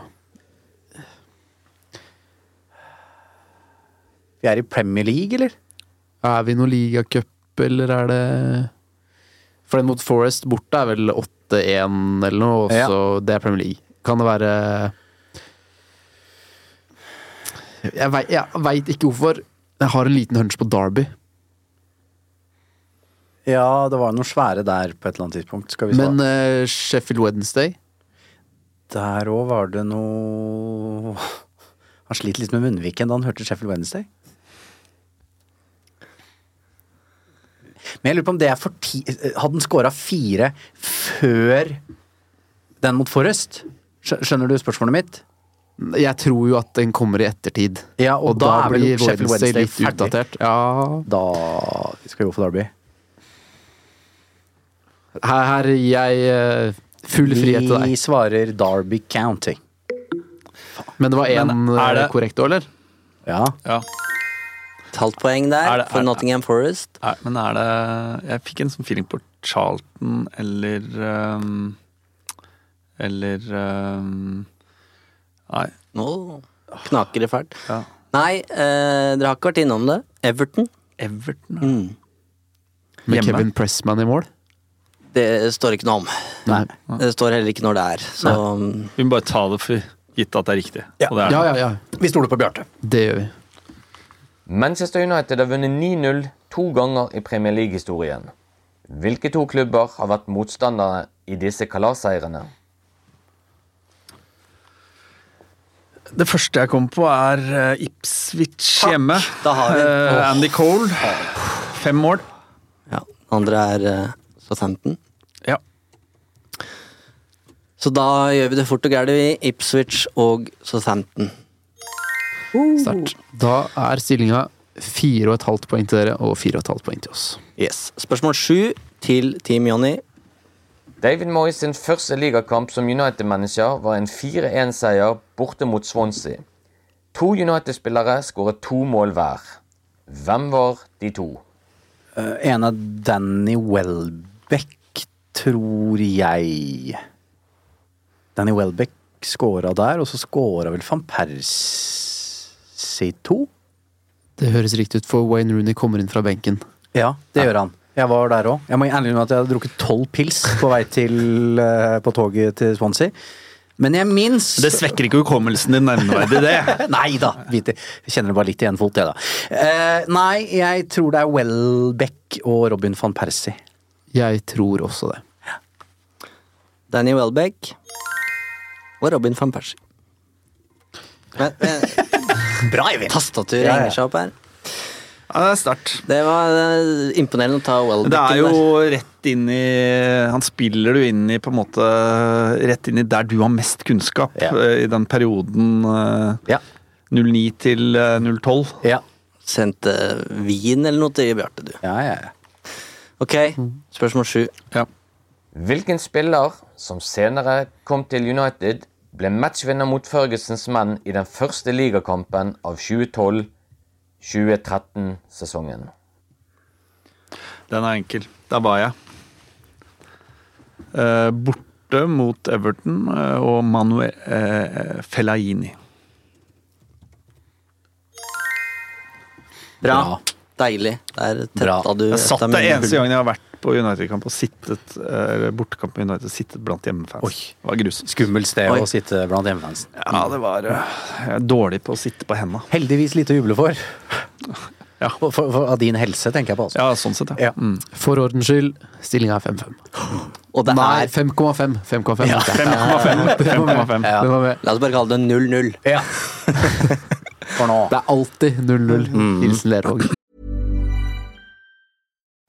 B: Vi er i Premier League, eller?
F: Er vi noe ligacup, eller er det For den mot Forest borte er vel 8-1 eller noe, og
B: Ja.
F: så det er Premier League. Kan det være Jeg vei- jeg veit ikke hvorfor. Jeg har en liten hunch på Derby,
B: Ja, det var noen svære der på et eller annet tidspunkt. Skal vi se.
F: men eh, Sheffield Wednesday
B: Der òg var det noe Han slit litt med munnviken da han hørte Sheffield Wednesday. Men jeg lurer på om det er for ti... Hadde han scora fire før den mot Forrest? Skjø- Skjønner du spørsmålet mitt?
F: Jeg tror jo at den kommer i ettertid.
B: Ja, og da er vel Sheffield Wednesday
F: litt
B: ferdig.
F: utdatert. Ja,
B: Da skal vi gå for Derby.
F: her, her gir jeg eh, full frihet til
B: Vi
F: deg.
B: svarer Derby County.
F: Men det var
D: Men
F: én
D: er
F: eh,
D: det-
F: korrekt òg, eller?
B: Ja.
D: Ja.
C: Et halvt poeng der
D: Er det- er-
C: for Nottingham Forest.
D: Er, men er det Jeg fikk en sånn feeling på Charlton eller ehm, Eller ehm, Nei.
C: Nå knaker det fælt.
D: Ja.
C: Nei, eh, dere har ikke vært innom det. Everton.
D: Everton? ja.
C: Mm.
F: Med
D: Hjemme.
F: Kevin Pressman i mål?
C: Det står ikke noe om.
F: Nei.
C: Det står heller ikke når det er. Så
D: Vi må bare ta det for gitt at det er riktig. Og det er
F: Ja, ja,
D: det.
F: ja.
B: Vi stoler på Bjarte.
F: Det gjør vi.
H: Manchester United har vunnet 9-0 to ganger i Premier League-historien. Hvilke to klubber har vært motstandere i disse kalasseirene?
D: Det første jeg kommer på, er eh, Ipswich hjemme.
C: Da har vi-
D: Eh, Andy Cole. Fem mål.
C: ja. Andre er eh, Southampton.
D: Ja.
C: Så da gjør vi det fort og gærent, vi. Ipswich og Southampton.
F: Sterkt. Da er stillinga fire og et halvt poeng til dere og fire og et halvt poeng til oss.
C: Yes. Spørsmål sju til Team Jonny.
H: David Moyes sin første ligakamp som United-manager var en 4-1-seier borte mot Swansea. To United-spillere skåret to mål hver. Hvem var de to?
B: Eh, En av Danny Welbeck, tror jeg. Danny Welbeck skåra der, og så skåra vel van Persie to?
F: Det høres riktig ut, for Wayne Rooney kommer inn fra benken.
B: Ja, det gjør han. Jeg var der òg. Jeg må ærlig innrømme at jeg hadde drukket tolv pils på vei til, eh, på toget til Swansea. Men jeg minnes
D: Det svekker ikke hukommelsen din nevneverdig, det.
B: [LAUGHS] Nei da! Vite. Jeg kjenner det bare litt i en fot, jeg, da. Eh, nei, jeg tror det er Welbeck og Robin van Persie.
F: Jeg tror også det.
C: Danny Welbeck og Robin van Persie. Men, men
B: Bra, Eivind!
C: tastaturet
B: Ja, ja.
C: henger seg opp her.
D: [LAUGHS] Ja, det er sterkt.
C: Det var eh, imponerende å ta Welbeck
D: Det er jo
C: der.
D: rett inn i Han spiller du inn i på en måte Rett inn i der du har mest kunnskap
C: Ja.
D: eh, i den perioden eh,
C: Ja.
D: 09 til eh, 012.
B: Ja.
C: Sendte vin eller noe til Bjarte, du.
B: Ja, ja, ja.
C: Ok, spørsmål sju.
H: Hvilken spiller som senere kom til United, ble matchvinner mot Fergusons menn i den første ligakampen av 2012-2013-sesongen?
D: Den er enkel. Der var jeg. Eh, borte mot Everton eh, og Manuel eh, Fellaini.
C: Bra. Deilig. Der tetta du
D: Jeg satt
C: et
D: det
C: av mine
D: eneste
C: hull.
D: gangen jeg har vært på United-kamp og sittet eh, eller bortekamp med United sittet blant hjemmefans. Det var grusomt.
B: Skummelt sted
C: Oi.
B: å sitte blant hjemmefansen.
D: Ja, det var eh, Jeg er dårlig på å sitte på henda.
B: Heldigvis lite å juble for.
D: Ja.
B: For, for, for. Av din helse, tenker jeg på. Altså.
D: Ja, sånn sett, ja.
B: Ja.
D: Mm.
F: For ordens skyld, stillinga er 5-5.
C: Og det
F: Nei,
C: er
F: 5,5. 5,5. [LAUGHS] Det er-
H: [LAUGHS]
D: 5,5. 5,5.
F: det var med.
C: La oss bare kalle det 0-0.
B: Ja. For nå. Mhm.
F: Det er alltid 0-0. Hilsen Lervåg.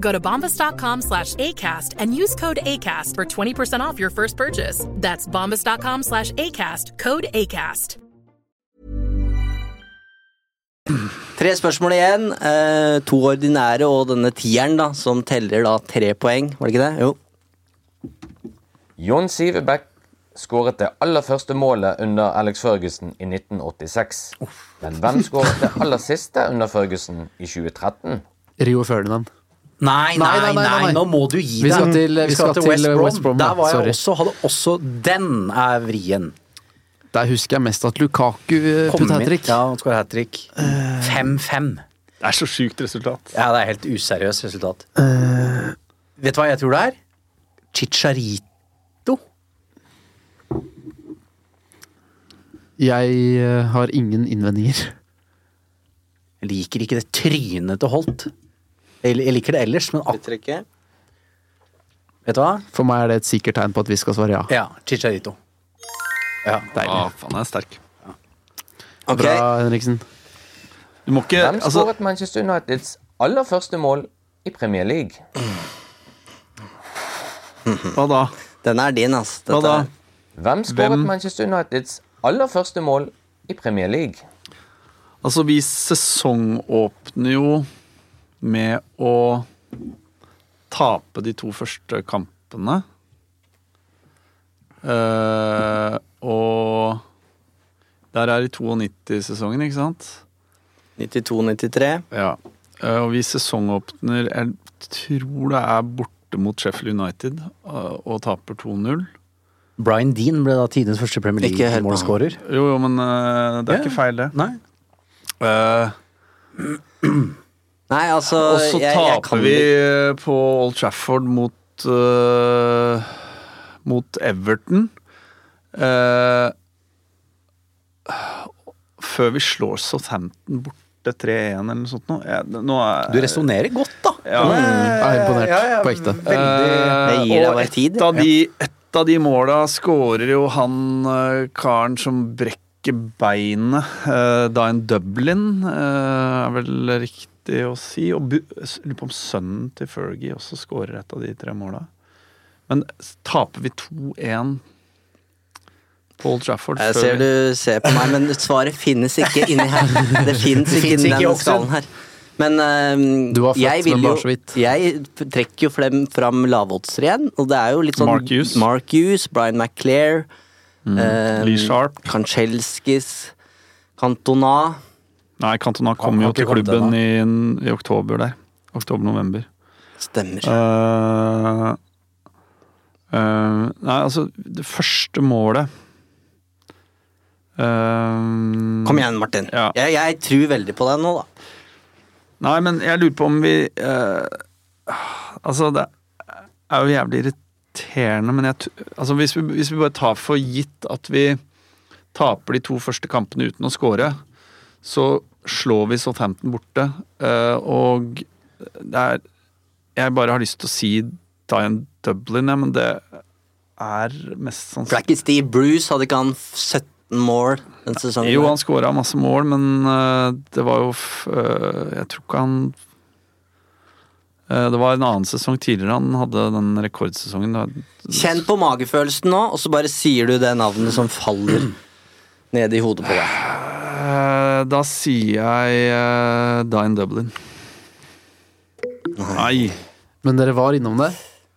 I: Go to bombas.com slash ACAST and use code ACAST for 20% off your first purchase. That's bombas.com slash ACAST, code ACAST.
C: Tre spørsmål igjen. Eh, to ordinære og denne tieren, da, som teller da tre poeng. Var det ikke det? Jo.
H: John Sivebekk skåret det aller første målet under Alex Ferguson i 1986. Men hvem skåret det aller siste under Ferguson i 2013?
F: Rio Ferdinand.
B: Nei nei nei,
F: Nei, nei, nei, nei.
B: nå må du gi
F: Vi
B: deg.
F: skal til- vi skal til West Brom,
B: Der var
F: sorry.
B: jeg også, hadde også Den er vrien.
F: Der husker jeg mest at Lukaku eh,
B: Kom
F: puttet hat
B: inn.
F: trick.
B: Ja, han skåret hat Eh. trick. 5-5.
D: Det er så sjukt resultat.
B: Ja, det er helt useriøst resultat. Eh. Vet du hva jeg tror det er? Chicharito.
F: Jeg eh, har ingen innvendinger.
B: Jeg liker ikke det trynet til Holt. Jeg, jeg liker det ellers, men ak
C: Uttrekket.
B: Vet du hva?
F: For meg er det et sikkert tegn på at vi skal svare ja.
B: Ja, Chicharito. Ja.
D: Deilig. Ah, faen, jeg er sterk.
C: Ok,
F: Bra, Henriksen.
D: Du må ikke
H: Hvem
D: altså,
H: skåret Manchester Uniteds aller første mål i Premier League?
D: Hva da?
C: Denne er din, ass.
D: Hva
C: Dette
D: da?
C: er-
H: Hvem skåret Manchester Uniteds aller første mål i Premier League?
D: Altså, vi sesongåpner jo med å tape de to første kampene. Eh, og der er i 92-sesongen, ikke sant?
C: 92-93.
D: Ja. Eh, og vi sesongåpner Jeg tror det er borte mot Sheffield United eh, og taper 2-0.
B: Brian Dean ble da tidens første Premier
C: Ikke helt på han.
B: League-målskårer.
D: Jo, jo, men eh, det er
B: Ja.
D: ikke feil, det.
B: Nei.
D: Eh,
C: Nei, altså
D: og så
C: jeg- jeg kan
D: taper vi
C: ikke-
D: eh, på Old Trafford mot eh, Mot Everton. Eh, før vi slår Southampton borte 3-1 eller noe sånt. Nå, jeg, nå er,
B: Du resonnerer godt, da.
D: Ja.
B: Den
F: Jeg er imponert. På ekte.
B: Veldig
D: Eh,
C: Det gir deg
D: og
C: bare tid.
D: Et av de, et Ett av de måla skårer jo han eh, karen som brekker beinet eh, da en Dublin, eh, er vel riktig å si. Og bu- s- lurer på om sønnen til Fergie også skårer et av de tre måla. Men s- taper vi 2-1 på Old Trafford
C: Jeg ser du ser på meg, men svaret finnes ikke inni
D: [LAUGHS]
C: her. Det fins
D: Det
C: ikke
D: finnes
C: inni
D: ikke i
C: den
D: Oxen.
C: skallen her. Men ehm,
D: Du var født,
C: jeg vil
D: men bare
C: jo-
D: så vidt.
C: Jeg f- trekker jo frem, fram lavoddsere igjen, og det er jo litt sånn
D: Mark Hughes.
C: Mark Hughes, Brian McClair,
D: Mm,
C: ehm,
D: Lee Sharp.
C: Kanchelskis, Cantona
D: Nei, Cantona kom
C: Han
D: jo
C: har
D: til
C: ikke kommet
D: klubben i, i oktober der. Oktober-november.
C: Stemmer.
D: Eh, nei, altså, det første målet eh,
C: Kom igjen, Martin. Jeg, jeg tror veldig på deg nå, da.
D: Nei, men jeg lurer på om vi eh, Altså, det er jo jævlig irriterende, men jeg t- altså, hvis, vi, hvis vi bare tar for gitt at vi taper de to første kampene uten å score, så slår vi Southampton borte, eh, og det er Jeg bare har lyst til å si Dian Dublin, ja, men det er mest sannsynlig
C: Blackie Steve Bruce, hadde ikke han f- 17 mål den sesongen?
D: Jo, han skåra masse mål, men eh, det var jo f eh, Jeg tror ikke han eh, Det var en annen sesong tidligere han hadde den rekordsesongen. Da.
C: Kjenn på magefølelsen nå, og så bare sier du det navnet som faller [CLEARS THROAT] ned i hodet på deg.
D: Eh, da sier jeg uh, Dine Dublin. Nei.
F: Men dere var innom det.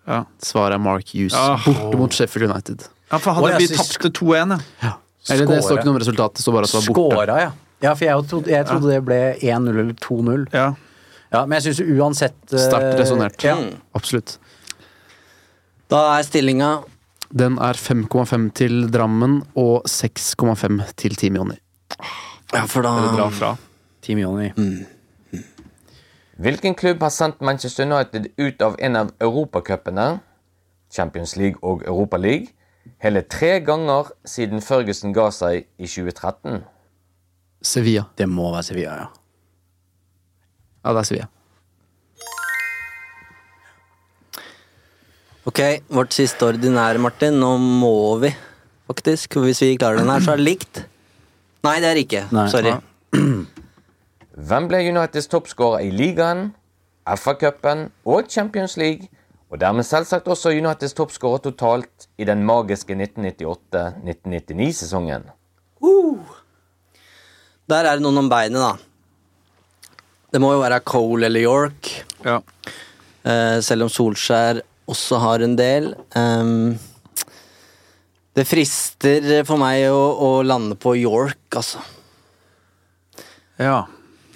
D: Ja.
F: Svaret er Mark Hughes.
D: Ah.
F: Borte mot Sheffield United.
D: Ja, for
F: Å,
D: hadde
F: jeg
D: vi
F: synes-
D: tapte 2-1, ja.
F: Eller det står
B: Skåre.
F: ikke noe om resultatet, det står bare at det var borte.
B: Skåra, ja. Ja, for jeg trodde, jeg trodde det ble 1-0 eller 2-0.
D: Ja.
B: Men jeg syns uansett eh,
F: Sterkt resonnert.
B: Ja.
H: Mm.
F: Absolutt.
C: Mm. Da er stillinga
F: Den er 5,5 til Drammen og 6,5 til Team Jonny.
C: Ja, for da
D: Dere drar fra.
B: Team Jonny. Mm.
H: Hvilken klubb har sendt Manchester United ut av en av europacupene, Champions League og Europa League, hele tre ganger siden Ferguson ga seg i 2013?
F: Sevilla.
B: Det må være Sevilla, ja.
F: Ja, det er Sevilla.
C: Ok, vårt siste ordinære, Martin. Nå må vi faktisk. Hvis vi klarer den her, så er det likt. Nei, det er det ikke.
H: Nei.
C: Sorry.
H: Ja. Hvem ble Uniteds toppskårer i ligaen, FA-cupen og Champions League, og dermed selvsagt også Uniteds toppskårer totalt i den magiske 1998-1999-sesongen?
C: Der er det noen om beinet, da. Det må jo være Cole eller York. Eh, selv om Solskjær også har en del. Ehm, det frister for meg å, å lande på York, altså.
D: Ja.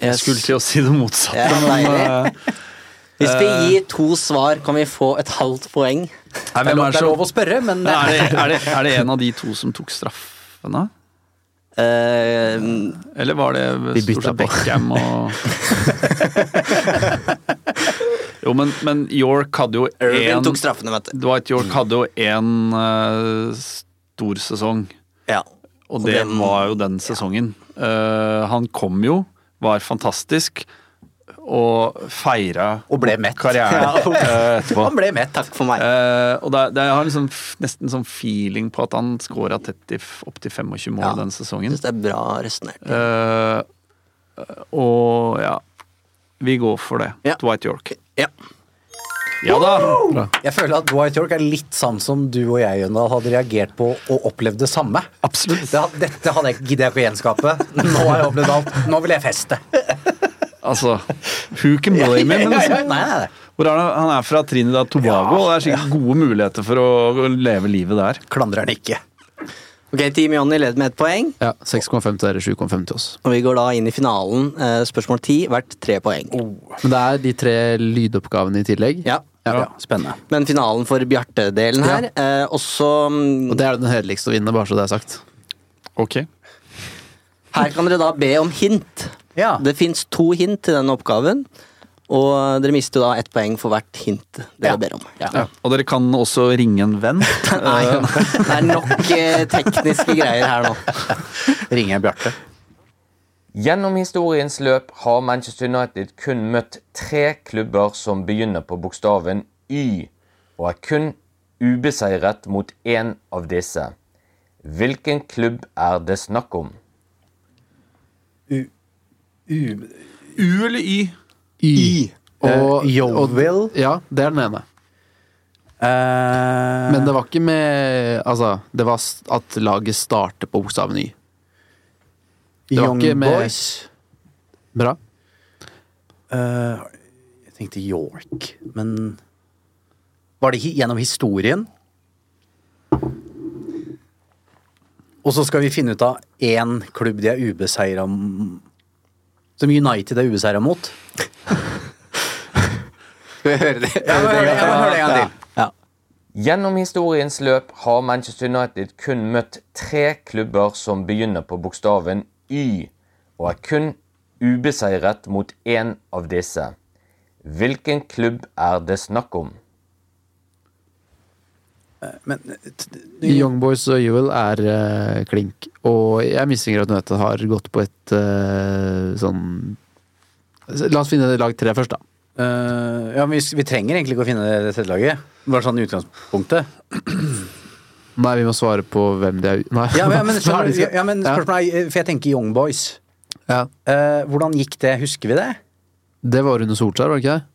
D: Jeg
C: Yes.
D: skulle til å si det motsatte,
C: Ja,
D: men
C: deilig.
D: eh,
C: [LAUGHS] Hvis vi
D: eh,
C: gir to svar, kan vi få et halvt poeng?
D: Nei, hvem er det som- Men Er det, er, det, er det en av de to som tok straffen, da?
C: eh,
D: Eller var det
C: De bytta
D: stort sett
C: på.
D: Beckham og
C: [LAUGHS]
D: Jo, men, men York hadde jo
C: Irvin
D: en-
C: tok straffene, vet du.
D: Dwight York hadde jo én stor sesong. Og
C: Og
D: det
C: den-
D: var jo den sesongen. Eh, han kom jo, var fantastisk, og feira
B: Og ble mett.
C: [LAUGHS]
D: karrieren
B: Ja.
D: eh, etterpå.
C: Han ble mett, takk for meg.
D: Eh, og det, er- det, jeg har liksom f- nesten sånn feeling på at han scora opptil 25 mål den sesongen.
C: Det er bra resonnert.
D: Eh, og ja Vi går for det. Dwight York.
C: Ja.
D: Ja da!
B: Jeg føler at Dwight York er litt sånn som du og jeg Jøndal, hadde reagert på og opplevd det samme.
D: Absolutt.
B: dette hadde jeg, gidder jeg ikke å gjenskape. Nå har jeg opplevd alt. Nå vil jeg feste.
D: Altså, who can blame him? Men
B: Ja, ja, ja.
D: liksom,
B: Nei, nei, nei.
D: hvor er det? Han er fra Trinidad Tobago, og det er sikkert gode muligheter for å å leve livet der.
B: Klandrer han ikke.
C: Ok, Team Jonny leder med ett poeng,
F: Ja, 6,5 til dere, 7,5 til oss.
C: og vi går da inn i finalen. Eh, spørsmål ti, hvert tre poeng.
F: Men det er de tre lydoppgavene i tillegg.
C: Ja.
B: Spennende.
C: Men finalen for Bjarte-delen her, eh, også mm,
F: Og det er den hederligste å vinne, bare så det er sagt.
D: Ok.
C: Her kan dere da be om hint.
B: Ja.
C: Det fins to hint til denne oppgaven. Og dere mister da ett poeng for hvert hint dere ber om.
D: Ja. Og dere kan også ringe en [LAUGHS] venn. Eh,
C: Nei, det er nok eh, tekniske greier her nå.
B: Ringer jeg Bjarte.
H: Gjennom historiens løp har Manchester United kun møtt tre klubber som begynner på bokstaven Y, og er kun ubeseiret mot én av disse. Hvilken klubb er det snakk om?
B: U,
D: U eller Y?
F: Y.
B: Og Yeovil.
F: Ja, det er den ene.
B: Eh,
F: Men det var ikke med Altså, det var s- at laget starter på bokstaven Y. Det var
B: Young
F: ikke med-
B: Boys.
F: Bra.
B: Eh, jeg tenkte York, men Var det hi- gjennom historien? Og så skal vi finne ut av én klubb de er ubeseira m- Som United er ubeseira mot.
H: Skal vi høre det?
B: Ja, men hør det- ja, men hør det en gang til.
H: Gjennom historiens løp har Manchester United kun møtt tre klubber som begynner på bokstaven Y, og er kun ubeseiret mot én av disse. Hvilken klubb er det snakk om?
F: Young Boys og Ewell er eh, klink. Og jeg mistenker at Nøte har gått på et eh, sånn La oss finne lag tre først, da.
B: Eh, ja, men vi, vi trenger egentlig ikke å finne det tredje laget. Bare sånn i utgangspunktet.
F: Nei, vi må svare på hvem de er Nei. [LAUGHS]
B: Ja, [LAUGHS] men, men,
F: Hva er
B: skjønner,
F: det de
B: du-
F: skal-
B: ja, men spørsmålet er, eh, for jeg tenker Young Boys.
F: Ja.
B: Eh, hvordan gikk det? Husker vi det?
F: Det var under Solskjær, var det ikke det?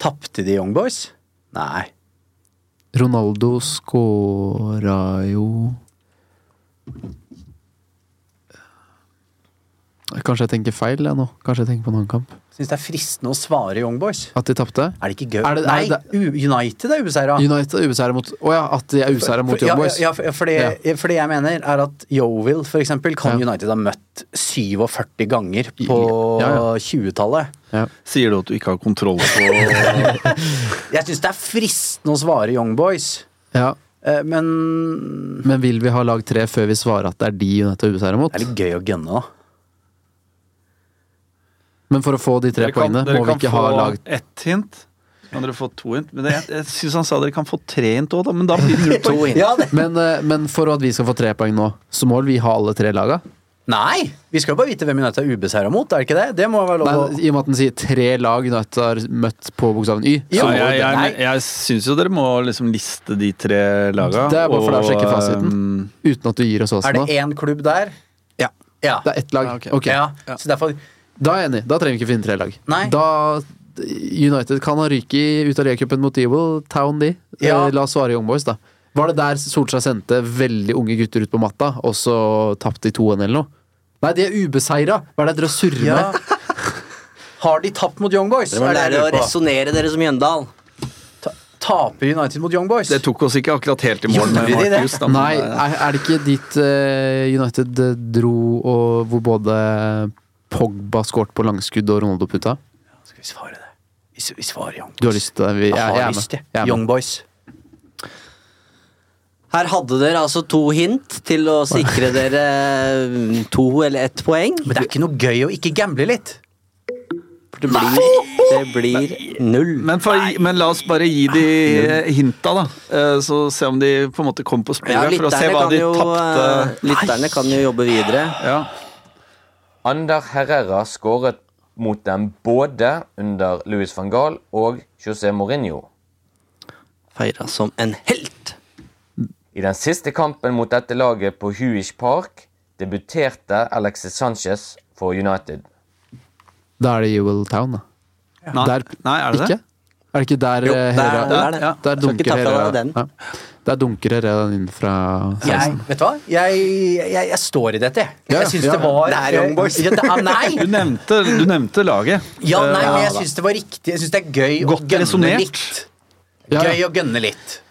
B: Tapte de Young Boys? Nei.
F: Ronaldo scora jo Kanskje jeg tenker feil jeg nå. Kanskje jeg tenker på en annen kamp.
B: Syns det er fristende å svare Young Boys.
F: At de tapte?
B: Er det ikke gøy?
F: Er det- er
B: Nei,
F: det-
B: U- United er ubeseira.
F: United er ubeseira mot Å ja, at de er ubeseira mot
B: ja,
F: Young Boys.
B: Ja, for, for, det, for det jeg mener, er at Yeovil, for eksempel, kan United ha møtt 47 ganger på
D: Ja, ja.
B: 20-tallet.
D: Sier du at du ikke har kontroll på
B: Jeg syns det er fristende å svare Young Boys.
F: Ja.
B: Eh, Men
F: Men vil vi ha lag tre før vi svarer at det er de United er ubeseira mot?
B: det er litt gøy å gunne, da.
F: Men for å få de tre
D: Dere kan-
F: poengene,
D: dere
F: må vi
D: kan
F: ikke ha
D: få
F: lag
D: ett hint. Kan dere få to hint? Men det, jeg jeg syns han sa dere kan få tre hint òg, da. Men da blir det [LAUGHS] null poeng.
F: men, eh, men for at vi skal få tre poeng nå, så må vel vi ha alle tre laga?
B: Nei! Vi skal jo bare vite hvem United er ubeseira mot, er det ikke det? Det må være
F: Nei,
B: lov å
F: I og med at den sier tre lag United har møtt på bokstaven Y.
D: Ja,
F: så må
D: jeg
F: det-
D: jeg,
F: Nei.
D: jeg, syns jo dere må liksom liste de tre laga.
F: Det er bare for deg å sjekke fasiten.
D: ehm,
F: Uten at du gir oss også
B: Er
F: nå.
B: det én klubb der? Ja.
F: Det er ett lag. Ah, Ok.
B: Ja, så derfor
F: Da er jeg enig. Da trenger vi ikke finne tre lag.
B: Nei.
F: Da eh, United kan ha ryket i- ut av ligacupen mot Evil Town, de.
B: Ja.
F: Eh, La oss svare Young Boys, da. Var det der Solskjær sendte veldig unge gutter ut på matta, og så tapte de 2-1 eller noe? Nei, de er ubeseira! Hva er det dere surrer
B: Ja.
F: med?
B: Har de tapt mot Young Boys?
C: Dere må
B: Er det jeg
C: lære å
B: lurer på.
C: resonnere dere som Mjøndal.
B: Taper United mot Young Boys?
D: Det tok oss ikke akkurat helt i mål
B: Gjorde
D: med
B: de det?
D: Markus. da, men,
F: Nei,
D: eh,
F: er, er det ikke dit eh, United eh, dro, og hvor både Pogba skåret på langskudd og Ronaldo putta?
B: Skal vi svare det? Vi s- Vi svarer Young Boys.
F: Du har lyst til det? Vi-
B: Jeg har
F: jeg er med.
B: lyst, jeg.
F: Jeg er med.
B: Young Boys.
C: Her hadde dere altså to hint til å sikre dere mm, to eller ett poeng.
B: Men det er ikke noe gøy å ikke gamble litt.
C: For det blir, det blir null.
D: eh, men, for, men la oss bare gi de eh, hinta, da. Eh, Så se om de på en måte kom på
C: Ja,
D: sporet, for å se
C: lytterne,
D: hva
C: kan
D: de
C: jo, eh,
D: tapte.
C: lytterne kan jo jobbe videre.
D: Ja.
H: Ander Herrera skåret mot dem både under Louis van Gaal og José Mourinho.
C: Feira som en helt.
H: I den siste kampen mot dette laget på Huish Park debuterte Alexis Sanchez for United.
F: Da er det Ewell Town, da.
D: Nei,
F: Der-
D: nei, er det
F: ikke?
D: det?
F: Er det ikke der eh,
C: Jo, der-
F: Herrera
C: der er det.
F: Der
C: Skal ikke
F: dunker
C: ta fra
F: Herrera
C: deg den.
F: Ja. Der dunker Herrera inn fra
B: Jeg,
F: 16.
B: vet du hva? Jeg, jeg, jeg står i dette, jeg.
F: Ja,
B: Jeg syns
F: ja.
B: det var
C: Det er Young Boys.
B: Ja, det er,
D: Du
F: [LAUGHS]
B: nei!
D: nevnte, du nevnte laget.
B: Ja, nei, men jeg
C: da.
B: syns det var riktig. Jeg syns det er gøy å
D: Godt
B: gønne
D: resonert.
B: litt.
F: Ja,
B: Gøy
F: ja.
B: å gønne litt.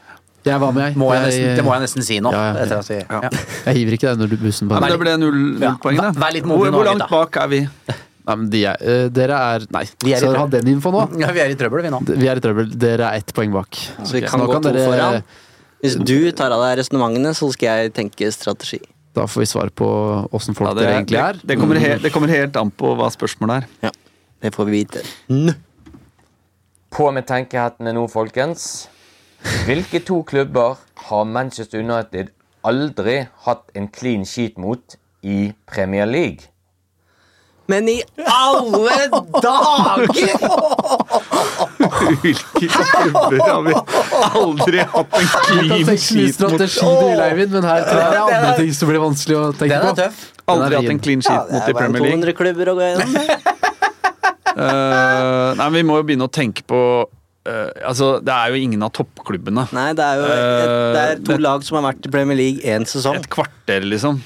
F: Jeg var med, jeg.
B: Må jeg
F: jeg,
B: nesten, det må jeg nesten si nå.
F: Ja, ja.
B: etter at vi- ja.
F: [LAUGHS] jeg hiver ikke deg under bussen på
D: Nei, Eh, men
F: den.
D: det ble null, null
B: Ja,
D: poeng, da.
B: vær- vær litt modig
D: hvor,
B: nå,
D: hvor langt
B: gutta.
D: bak er vi?
F: Nei, men de er, eh, dere er Nei,
B: Vi er i
F: så
B: trøbbel.
F: ha den infoen nå.
B: ja, vi er i trøbbel, vi nå.
F: D- Vi er i trøbbel. Dere er ett poeng bak.
C: Så vi
F: Ok,
C: kan
F: nå
C: gå to
F: dere-
C: foran. Hvis du tar av deg resonnementene, så skal jeg tenke strategi.
F: Da får vi svar på åssen folk
D: Ja, det,
F: dere egentlig er. Mm.
D: det, kommer helt, det kommer helt an på hva spørsmålet er.
C: Ja, Det får vi vite.
H: På med tenkehettene nå, folkens. Hvilke to klubber har Manchester United aldri hatt en clean sheet mot i Premier League?
C: Men i alle
D: [LAUGHS]
C: dager!
D: Hvilke klubber har vi aldri hatt en clean sheet mot?
F: Mm. Strategi til Eivind, men her tror jeg det er andre ting som blir vanskelig å tenke
C: Den er
F: på.
C: tøff.
D: Aldri hatt en clean sheet mot i Premier League.
C: 200 klubber å gå gjennom.
D: [LAUGHS] Eh, nei, vi må jo begynne å tenke på eh, Altså, det er jo ingen av toppklubbene.
C: Nei, det er jo et, det er to lag som har vært i Premier League én sesong.
D: Eh, Et kvarter, liksom.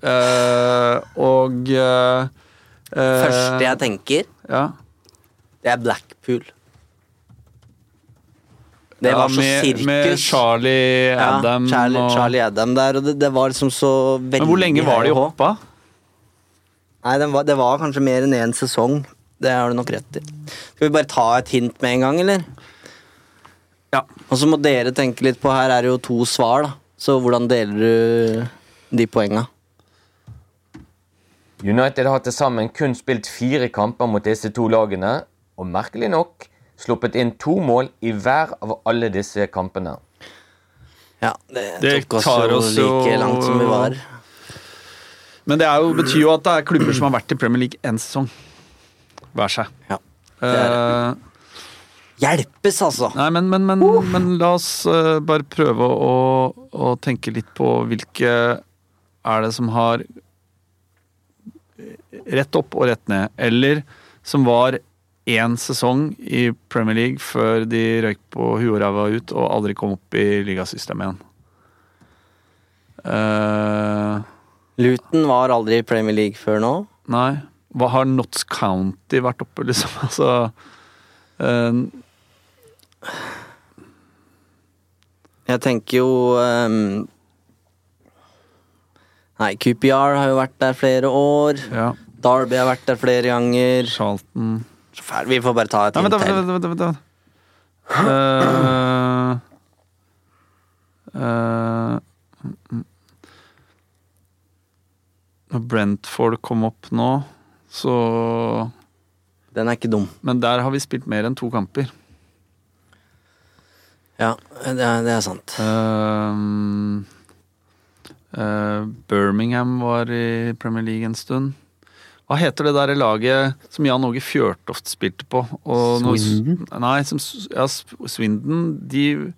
D: Eh, og eh, eh,
C: Første jeg tenker,
D: ja.
C: det er Blackpool. Det
D: Ja,
C: var så
D: med,
C: sirkus.
D: Med Charlie
C: Ja,
D: Adam
C: Charlie,
D: og
C: Charlie Adam der, og det, det var liksom så veldig
D: Men hvor lenge var de
C: høy og hå.
D: oppa?
C: Nei, den var, det var kanskje mer enn én sesong. Det har du nok rett i. Skal vi bare ta et hint med en gang, eller?
D: Ja.
C: Og så må dere tenke litt på Her er det jo to svar, da. Så hvordan deler du de poenga?
H: United har til sammen kun spilt fire kamper mot disse to lagene, og merkelig nok sluppet inn to mål i hver av alle disse kampene.
C: Ja, det,
D: Det
C: tok oss,
D: tar
C: jo
D: oss
C: like
D: jo-
C: langt som vi var.
D: Men det er jo, betyr jo at det er klubber som har vært i Premier League én sesong. Hver seg.
C: Ja.
D: Eh,
C: Hjelpes, altså!
D: Nei, men, men, men, men la oss eh, bare prøve å, å tenke litt på hvilke er det som har rett opp og rett ned, eller som var én sesong i Premier League før de røyk på huet og ræva ut og aldri kom opp i ligasystemet igjen. Eh,
C: Luton var aldri i Premier League før nå.
D: nei, hva har Notts County vært oppe, liksom? [LAUGHS] Altså eh,
C: Jeg tenker jo ehm, Nei, QPR har jo vært der flere år.
D: Ja,
C: Derby har vært der flere ganger.
D: Charlton
C: Så fæl, Vi får bare ta et
D: Nei,
C: hint
D: vent, da,
C: til.
D: vent, da, vent, da, vent, da, vent. da. Eh, eh, mm, mm. Når Brentford kom opp nå, så
C: Den er ikke dum.
D: Men der har vi spilt mer enn to kamper.
C: Ja, det er, det er sant.
D: Eh, eh, Birmingham var i Premier League en stund. Hva heter det der laget som Jan Åge Fjørtoft spilte på? Og nå-
F: Swindon?
D: Nei, som, s- ja, s- Swindon. De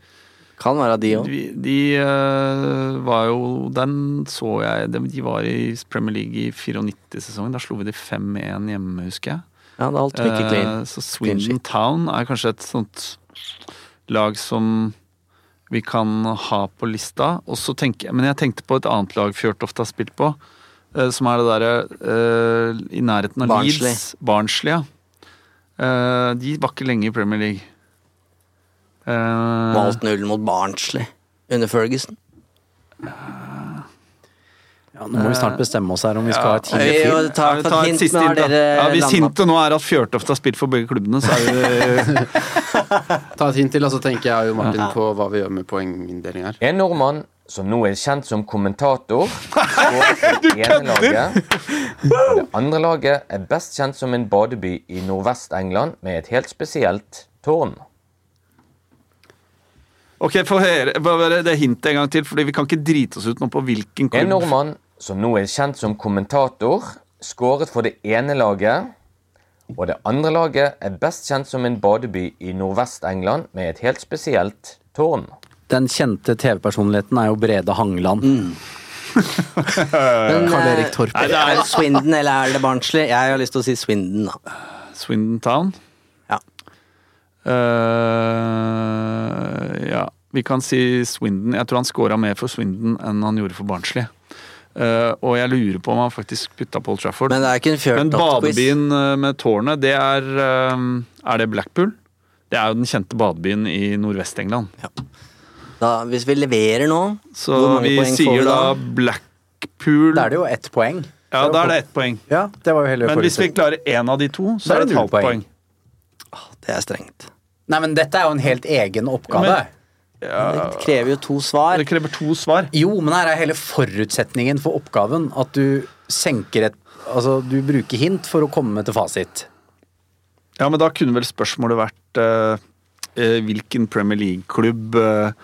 C: Kan være de òg.
D: De, de eh, var jo Den så jeg De, de var i Premier League i 94-sesongen. Da slo vi de 5-1 hjemme, husker jeg.
C: Ja, det er alt ikke clean.
D: Eh, så Swindon Town er kanskje et sånt lag som vi kan ha på lista. Og så tenker jeg, Men jeg tenkte på et annet lag Fjørtoft har spilt på. eh, Som er det derre eh, i nærheten av
C: Barnsley.
D: Leeds. Barnsley. Ja. Eh, de var ikke lenge i Premier League. Uh,
C: Malt null mot Barnsley under Ferguson.
B: Ja, nå må vi snart bestemme oss her om vi skal ha et
C: Vi
B: hint.
C: jo tar
D: vi
C: et
D: tar et
C: hint,
D: siste
C: men har
D: hint, da.
C: dere
D: ja, hvis [LAUGHS]
C: landet-
D: hintet nå er at Fjørtoft har spilt for begge klubbene, så er det
C: [LAUGHS]
F: Ta et hint til, og så tenker jeg og Martin på hva vi gjør med poenginndeling her.
H: En nordmann som nå er kjent som kommentator, står for det ene laget. Og det andre laget er best kjent som en badeby i Nordvest-England med et helt spesielt tårn.
D: Ok, få høre hva var det- det hintet en gang til, Fordi vi kan ikke drite oss ut nå på hvilken
H: En
D: klubb.
H: nordmann som nå er kjent som kommentator, skåret for det ene laget. Og det andre laget er best kjent som en badeby i Nordvest-England med et helt spesielt tårn.
B: Den kjente TV-personligheten er jo Brede Hangeland.
C: Mm.
D: [LAUGHS]
C: Men,
F: Karl Erik
C: eh,
F: Torp.
C: er det Swindon eller er det Barnsley? Jeg har lyst til å si Swindon, da.
D: Swindon Town.
C: Ja.
D: Eh, ja, vi kan si Swindon. Jeg tror han scora mer for Swindon enn han gjorde for Barnsley. Eh, og jeg lurer på om han faktisk putta Paul Trafford.
C: Men det er ikke en
D: Men
C: fjørtoft-quiz.
D: badebyen eh, med tårnet, det er eh, Er det Blackpool? Det er jo den kjente badebyen i Nordvest-England.
C: Da- Hvis vi leverer nå,
D: Så
C: hvor mange
D: vi
C: poeng får
D: sier
C: vi
D: da
C: da?
D: Blackpool
B: Da er det jo ett poeng.
D: Ja, da er det ett poeng.
B: Ja, det var jo hele
D: Men hvis vi
B: forutsetningen.
D: klarer én av de to,
B: Da
D: så er det et halvt poeng.
C: Det er strengt.
B: Nei, men dette er jo en helt egen oppgave.
D: Ja,
C: Det krever jo to svar.
D: Det krever to svar.
B: Jo, men her er hele forutsetningen for oppgaven at du senker et Altså, du bruker hint for å komme til fasit.
D: Ja, men da kunne vel spørsmålet vært eh, eh, hvilken Premier League-klubb eh,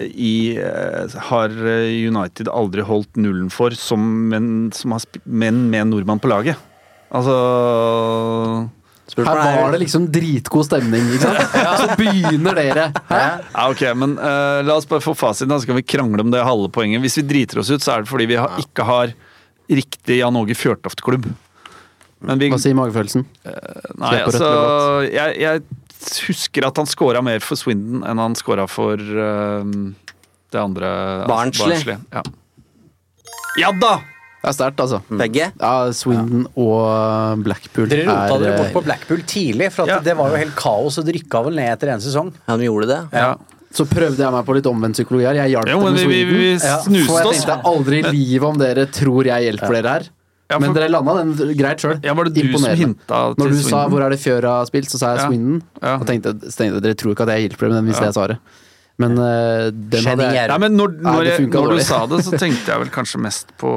D: i, eh, har United aldri holdt nullen for, som, men, som har, sp- men med en nordmann på laget? Altså
F: Her var det liksom dritgod stemning, ikke
D: [LAUGHS]
F: sant? Så begynner dere.
D: Ja, ok, men eh, La oss bare få fasiten, da, så kan vi krangle om det halve poenget. Hvis vi driter oss ut, så er det fordi vi har, ikke har riktig Jan Åge Fjørtoft-klubb. Men vi,
F: Hva sier magefølelsen?
D: nei,
F: Slipper rødt
D: altså,
F: eller
D: jeg, jeg husker at han scora mer for Swindon enn han scora for eh, det andre
C: Barnsley.
D: ja. ja da!
F: Det er sterkt, altså.
C: Begge?
F: Ja, Swindon og Blackpool
B: Dere rota dere
F: er- eh,
B: bort på Blackpool tidlig, for at
D: Ja.
B: det var jo helt kaos. Og det rykka vel ned etter en sesong.
C: Ja, de gjorde det.
D: Ja.
F: Så prøvde jeg meg på litt omvendt psykologi her. Jeg hjalp
D: Jo,
F: dem
D: men
F: med
D: vi, vi,
F: Sweden.
D: vi
B: Ja,
F: For
D: snuste
F: jeg
D: oss.
F: tenkte aldri i livet om dere tror jeg hjelper dere her.
D: Ja,
F: Men
D: for-
F: dere landa den greit sjøl.
D: Ja, var det du som hinta til
F: Når du sa
D: Swindon?
F: 'hvor er det Fjøra har spilt', så sa jeg
D: Ja.
F: Swindon.
D: Ja.
F: Og tenkte, så tenkte jeg, dere tror ikke at jeg hjelper dere med den hvis jeg svarer. Men eh, den hadde jeg
D: Nei, men når,
F: Nei,
D: når,
F: det
D: jeg,
F: funket
D: når du
F: dårlig.
D: sa det, så tenkte jeg vel kanskje mest på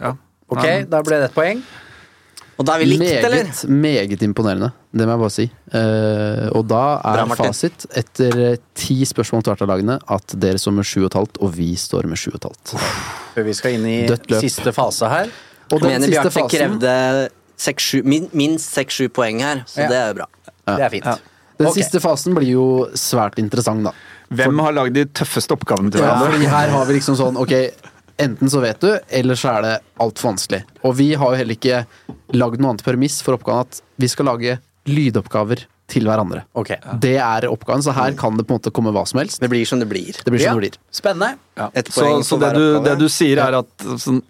D: ja.
B: Ok,
D: Nei,
B: Da ble det et poeng.
C: Og da er vi likt, eller?
F: meget, meget imponerende. Det må jeg bare si. Eh, og da er
C: Bra, Martin.
F: fasit, etter eh, ti spørsmål til hvert av lagene, at dere står med sju og et halvt, og vi står med sju og et halvt.
B: Før vi skal inn i
F: Dødt løp.
B: siste fase her.
F: Og den
C: Mener
F: siste
C: Bjarte
F: fasen,
C: krevde seks, sju, min, minst seks-sju poeng her, så
B: Ja.
C: det er jo bra.
B: Det er fint.
F: den
B: Ok.
F: siste fasen blir jo svært interessant, da.
D: Hvem har lagd de tøffeste oppgavene til
F: Ja,
D: hverandre?
F: fordi her har vi liksom sånn Ok, enten så vet du, eller så er det altfor vanskelig. Og vi har jo heller ikke lagd noe annet premiss for oppgaven at vi skal lage lydoppgaver til hverandre.
B: Ok.
F: Det er oppgaven, så her kan det på en måte komme hva som helst.
C: Det blir som det blir.
F: Det blir som det
B: Ja.
F: blir.
B: Spennende.
C: Et
D: Så,
C: poeng
D: så
C: for
D: det,
C: hver
D: du, det
C: oppgave.
D: du sier, er at sånn,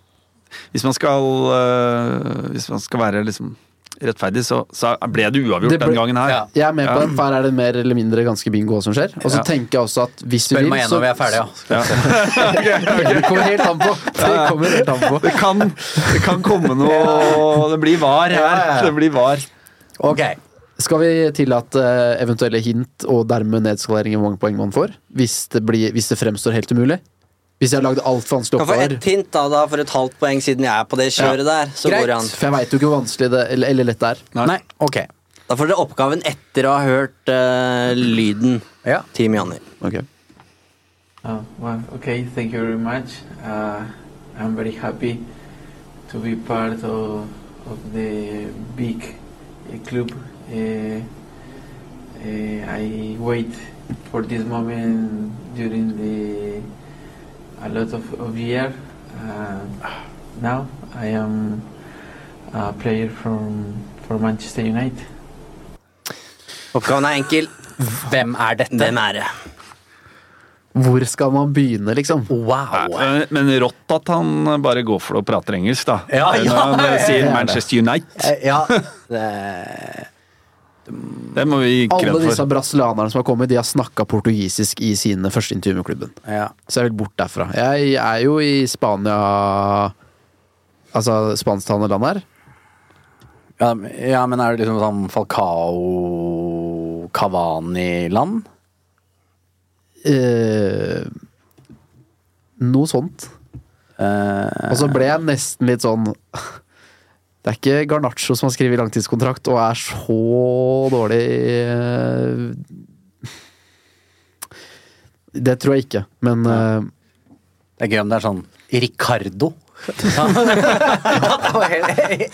D: hvis man skal øh, Hvis man skal være liksom rettferdig, så, så ble det uavgjort
F: Det ble-
D: den gangen her.
B: Ja.
F: Jeg er med på
D: Ja.
F: den, for her er det mer eller mindre ganske bingo hva som skjer. Og så
D: Ja.
F: tenker jeg også at hvis du
B: Spør
F: vil,
B: meg igjen
F: så
B: når vi er ferdige. Ja.
F: Det kommer helt an på. Det kommer helt an på.
D: [LAUGHS] Det, kan, det kan komme noe Det blir var her.
B: Ja.
D: Det blir var.
B: Ok.
F: Skal vi tillate eh, eventuelle hint og dermed nedskalering i hvor mange poeng man får? Hvis det, blir, hvis det fremstår helt umulig? Hvis jeg har lagd altfor vanskelige
C: Kan få
F: oppgaver?
C: ett hint da, da, for et halvt poeng, siden jeg er på det kjøret der. Så
B: Greit.
C: går det an.
F: For jeg veit jo ikke hvor vanskelig det, eller, eller lett det er.
B: Nei. Ok.
C: Da får dere oppgaven etter å ha hørt eh, lyden.
B: Ja.
C: Team Janni.
F: Ok.
J: Oh, well, okay, thank you very much. Uh, I'm very happy to be part of, of the big uh, club. Uh, uh, I wait for this moment during the a lot of, of year. Uh, now I am a player from for Manchester United.
C: Oppgaven er enkel.
B: Hvem er dette?
C: Hvem er det?
F: Hvor skal man begynne, liksom?
B: Wow.
D: Men- Men rått at han bare går for det og prater engelsk, da.
B: Ja, ja,
D: Når han eh,
F: ja,
D: sier
F: ja.
D: Manchester United.
B: Eh,
D: [LAUGHS]
B: Ja.
D: Det må vi gi
F: Alle
D: kred
F: disse
D: for.
F: brasilianerne som har kommet, de har snakka portugisisk i sine første intervju med klubben.
B: ja.
F: Så jeg vil bort derfra. Jeg er jo i Spania Altså spansktalende land her.
B: Ja, men- ja, men er det liksom sånn Falcao Kavani-land?
F: Eh, noe sånt.
B: Eh,
F: Og så ble jeg nesten litt sånn Det er ikke Garnaccio som har skrevet langtidskontrakt og er så dårlig eh, Det tror jeg ikke, men eh,
B: det er gøy om det er sånn Ricardo. [LAUGHS] helt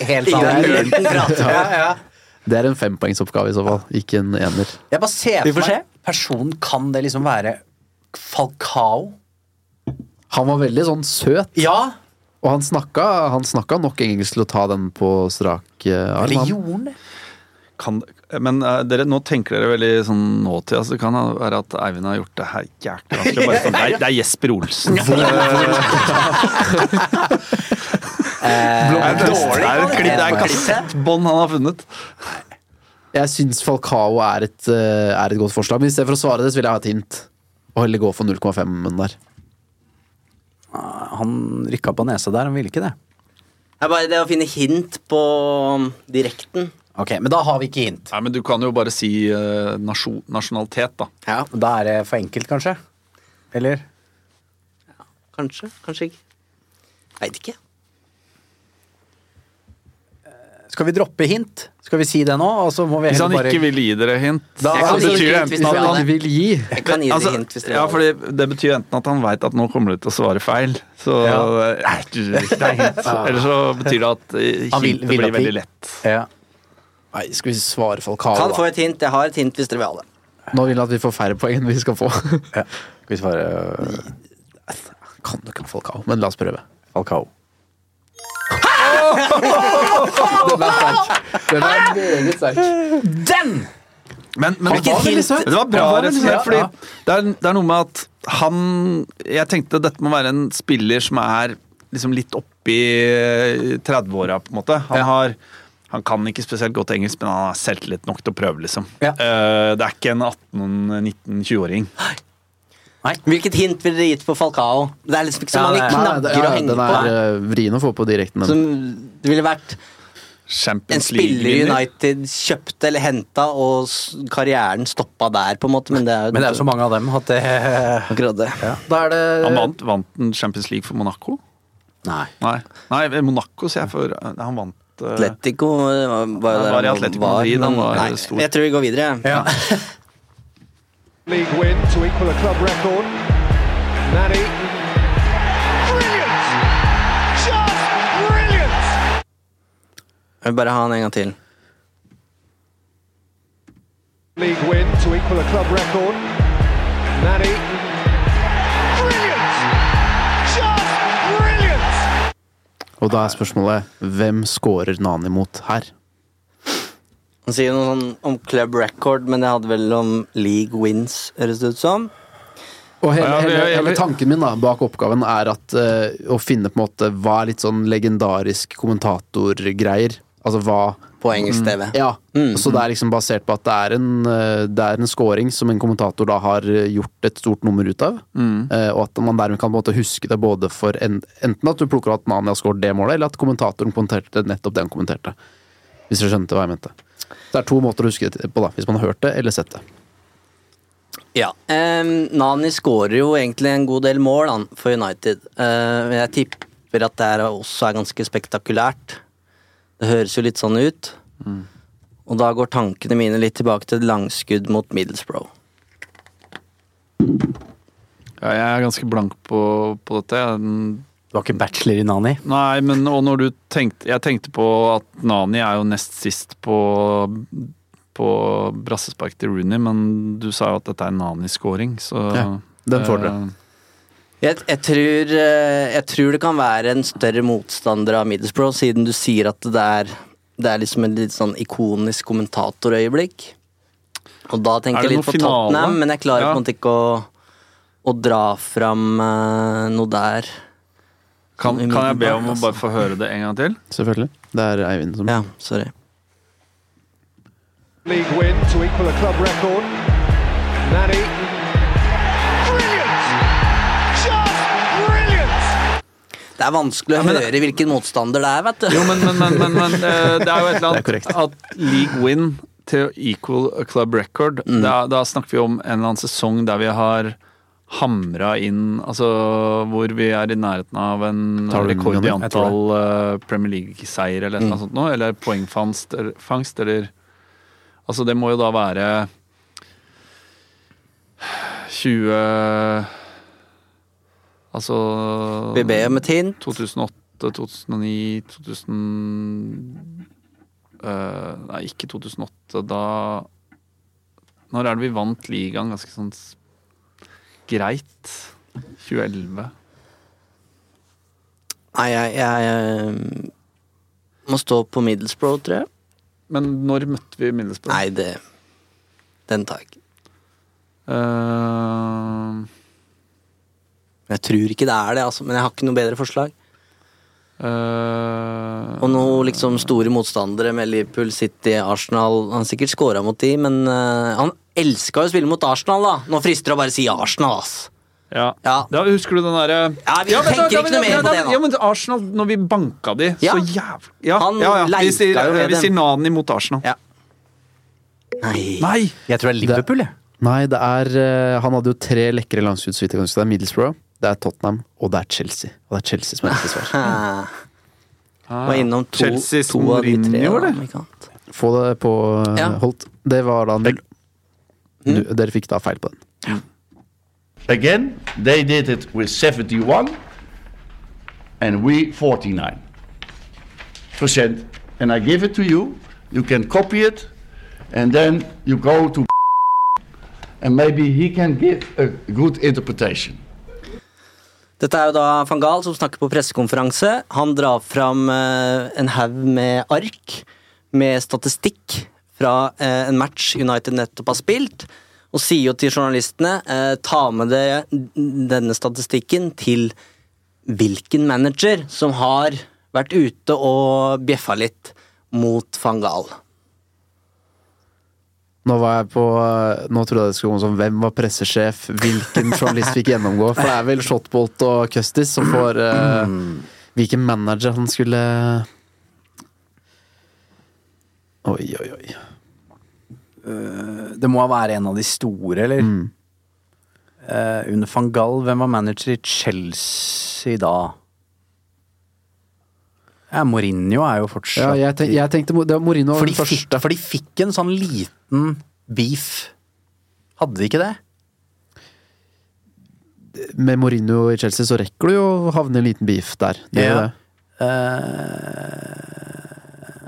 B: helt
F: [LAUGHS]
C: Ingen
B: annet.
C: uten prat.
B: Ja, ja.
F: det er en fempoengsoppgave i så fall, ikke en ener.
B: Jeg bare ser
C: Vi
B: for
C: får
B: meg Personen kan det liksom være Falcao?
F: Han var veldig sånn søt,
B: Ja!
F: og han snakka, han snakka nok engelsk til å ta den på strak eh, arm.
B: Eller
F: han.
B: gjorde han det?
D: Kan, men eh, dere, nå tenker dere veldig sånn nåtida, så det kan være at Eivind har gjort det her jækla vanskelig. Bare sånn, nei, det er Jesper Olsen.
B: [LAUGHS] Eh,
D: Det er et
B: Dårlig
D: det er et klipp, det er
B: kvalitet på
D: kassettbånd han har funnet.
F: Jeg syns Falcao er et, eh, er et godt forslag, men i stedet for å svare det, så vil jeg ha et hint. Og heller gå for 0,5 der.
B: Han rykka på nesa der, han ville ikke det.
C: Det er bare det å finne hint på um, direkten.
B: Ok, Men da har vi ikke hint.
D: Nei, men Du kan jo bare si eh, nasjon, nasjonalitet, da.
B: Ja. Da er det for enkelt, kanskje? Eller?
C: Kanskje, kanskje ikke. Veit ikke.
B: Skal vi droppe hint? Skal vi si det nå? Og så må vi
D: Hvis han
B: heller bare-
D: ikke vil gi dere hint,
B: Da- Jeg
D: så
B: kan gi
D: betyr det
B: dere hint hvis
D: enten at
B: dere vil
D: han
B: det. Vil gi. Jeg kan gi dere
D: Altså,
B: hint hvis dere
D: ja,
B: vil.
D: fordi Det betyr enten at han veit at nå kommer du til å svare feil, så eh,
B: Ja.
D: Nei, du, det er hint.
B: Ja.
D: Eller så betyr det at eh,
B: Han vil-
D: hintet
B: vil at
D: blir
B: vi-
D: veldig lett.
F: Nei, skal vi svare Falcao,
C: Kan få
F: da?
C: et hint. Jeg har et hint hvis dere vil ha det.
F: Nå vil jeg at vi får færre poeng enn vi skal få.
B: Skal vi svare øh,
F: kan du ikke ha Falcao, men la oss prøve. [LAUGHS] Falcao.
B: Den er sterk. Den er meget sterk. Den!
D: Men, men
B: Han
D: det,
B: var
D: var
B: veldig søt.
D: det var bra,
B: Han var
D: rett og
B: veldig
D: slett.
B: søt,
D: Fordi
B: ja.
D: det, er, det er noe med at han Jeg tenkte dette må være en spiller som er liksom litt oppi 30-åra, på en måte. Han har han kan ikke spesielt godt engelsk, men han har selvtillit nok til å prøve. liksom. Eh, det er ikke en 18-19-20-åring.
C: Hvilket hint ville dere gitt på Falcao? Det er liksom ikke så
F: Ja, det
C: mange
F: er- Nei, det-
C: knagger
F: ja,
C: å henge
F: Den
C: på.
F: er eh, vrien å få på direkten. den.
C: Som det ville vært en
D: Champions
C: spiller
D: League-vinner.
C: United kjøpte eller henta, og s- karrieren stoppa der, på en måte. Men det er jo,
B: Men det er jo så mange av dem at det
C: Akkurat det.
B: Da er
D: Han
B: det
D: vant, vant den Champions League for Monaco?
B: Nei.
D: Nei, Nei Monaco sier jeg for Han vant eh,
C: Atletico eh, var jo
D: Han
C: der
D: var i Atletico Madrid, han
C: men-
D: var
C: nei,
D: stor.
C: Jeg tror vi går videre.
A: League win to equal a club record. Nani. Brilliant! Just brilliant!
C: Jeg vil bare ha han en gang til.
A: League win to equal a club record. Nani. Brilliant! Just brilliant!
F: Og da er spørsmålet hvem scorer Nani mot her?
C: Han sier noe sånn om club record, men det hadde vel om league wins, høres det ut som.
F: Og hele,
C: Ja, ja,
F: hele,
C: ja, ja,
F: hele
C: vi-
F: tanken min da, bak oppgaven er at eh, å finne på en måte hva er litt sånn legendarisk kommentatorgreier. Altså hva
C: På engelsk TV.
F: Ja.
B: Mm,
F: Så det er liksom basert på at det er en eh, Det er en scoring som en kommentator da har eh, gjort et stort nummer ut av.
B: Mm.
F: eh, og at man dermed kan på en måte huske det både for en, enten at du plukker at Nani har scoret det målet, eller at kommentatoren kommenterte nettopp det han kommenterte. Hvis dere skjønte hva jeg mente. Så det er to måter å huske det på, da. Hvis man har hørt det eller sett det.
C: Ja. Em, Nani skårer jo egentlig en god del mål han, for United. Eh, men jeg tipper at det her også er ganske spektakulært. Det høres jo litt sånn ut. Og da går tankene mine litt tilbake til et langskudd mot Middlesbrough.
D: Ja, jeg er ganske blank på, på dette. Du
B: var ikke bachelor i Nani?
D: Nei, men og når du tenkte Jeg tenkte på at Nani er jo nest sist på på brassespark til Rooney, men du sa jo at dette er Nani-scoring, så eh,
F: Ja, den får dere.
C: Jeg, jeg, tror, eh, jeg tror det kan være en større motstander av Middlesbrough, siden du sier at det er, det er liksom et litt sånn ikonisk kommentatorøyeblikk. Og da tenker
D: Er det noe
C: jeg litt på
D: finale?
C: Tottenham, men jeg klarer
D: Ja.
C: på en måte ikke å, å dra fram eh, noe der.
D: Kan,
C: Sånn
D: kan jeg be om å
C: umiddelbart, altså.
D: bare få høre det en gang til?
F: Selvfølgelig. Det er Eivind som
C: Ja, sorry.
A: League win to equal a club record. Nani. Brilliant! Just brilliant!
C: Det er vanskelig å høre hvilken motstander det er, vet du.
D: [LAUGHS] Jo, men, men, men, men, men eh, det er jo et eller
F: Det er
D: annet at league win til equal a club record
F: Mm.
D: da, da snakker vi om en eller annen sesong der vi har hamra inn Altså hvor vi er i nærheten av en
F: Tar du den,
D: rekord i
F: Jonny? Jeg tror Mm.
D: antall eh, Premier League-seier eller noe sånt nå, eller poengfangst eller, fangst, eller Altså det må jo da være 20 Altså
C: Vi ber om et hint.
D: 2008, 2009, 2000 eh, Nei, ikke 2008. Da Når er det vi vant ligaen? Ganske sånn s- greit. 2011.
C: Nei, jeg, jeg, eh, må stå på Middlesbrough, tror jeg.
D: Men når møtte vi Middlesbrough?
C: Nei, det Den tar jeg ikke.
D: Eh,
C: Jeg tror ikke det er det, altså, men jeg har ikke noe bedre forslag.
D: eh,
C: Og noen liksom store motstandere med Liverpool, City, Arsenal Han har sikkert scora mot de, men eh, han elska jo å spille mot Arsenal, da. Nå frister det å bare si Arsenal, ass.
D: ja.
C: Ja.
D: Da husker du den derre
C: Ja, vi
D: men da-
C: tenker
D: da-
C: ikke noe mer
D: da-
C: på
D: da-
C: det nå.
D: Ja, men Arsenal, når vi banka de,
C: Ja.
D: så jævlig ja,
C: Han
D: ja, ja. Vi
C: leika
D: sier,
C: jo med
D: vi
C: dem.
D: sier Nani mot Arsenal.
C: Ja. Nei.
D: Nei!
B: Jeg tror det er Liverpool, jeg.
F: Nei, det er eh, Han hadde jo tre lekre landskudd, så vidt jeg kan huske. Det er Middlesbrough, det er Tottenham, og det er Chelsea. Og det er Chelsea som er riktig svar.
C: Ah. Var innom to,
D: Chelsea,
C: to av de tre.
D: Mourinho,
C: da,
D: eller?
C: om ikke annet.
F: Få det på eh,
C: Ja.
F: holdt. Det var da null. Du,
B: Mm.
F: dere fikk da feil på den.
K: Again, they did it with 71 and we 49 percent. And I give it to you. You can copy it and then you go to [LAUGHS] and maybe he can give a good interpretation.
C: Dette er jo da van Gaal som snakker på pressekonferanse. Han drar fram eh, en haug med ark med statistikk fra eh, en match United nettopp har spilt, og sier jo til journalistene eh, ta med dere denne statistikken til hvilken manager som har vært ute og bjeffa litt mot van Gaal.
F: Nå var jeg på eh, Nå trodde jeg det skulle komme som hvem var pressesjef,
B: [LAUGHS]
F: hvilken journalist fikk gjennomgå. For det er vel Shotbolt og Custis som får eh,
B: Mm.
F: Hvilken manager han skulle Oi, oi, oi.
B: Eh, Det må være en av de store, eller?
F: Mm.
B: Eh, under van Gaal, hvem var manager i Chelsea da? Ja, Mourinho er jo
F: Ja,
B: fortsatt
F: jeg, tenk, jeg tenkte Mo- det var Mourinho
B: for,
F: var
B: de
F: den første.
B: fikk, for de fikk en sånn liten beef. Hadde de ikke det?
F: Med Mourinho i Chelsea så rekker du jo å havne i en liten beef der. Det er jo
B: Ja.
F: det.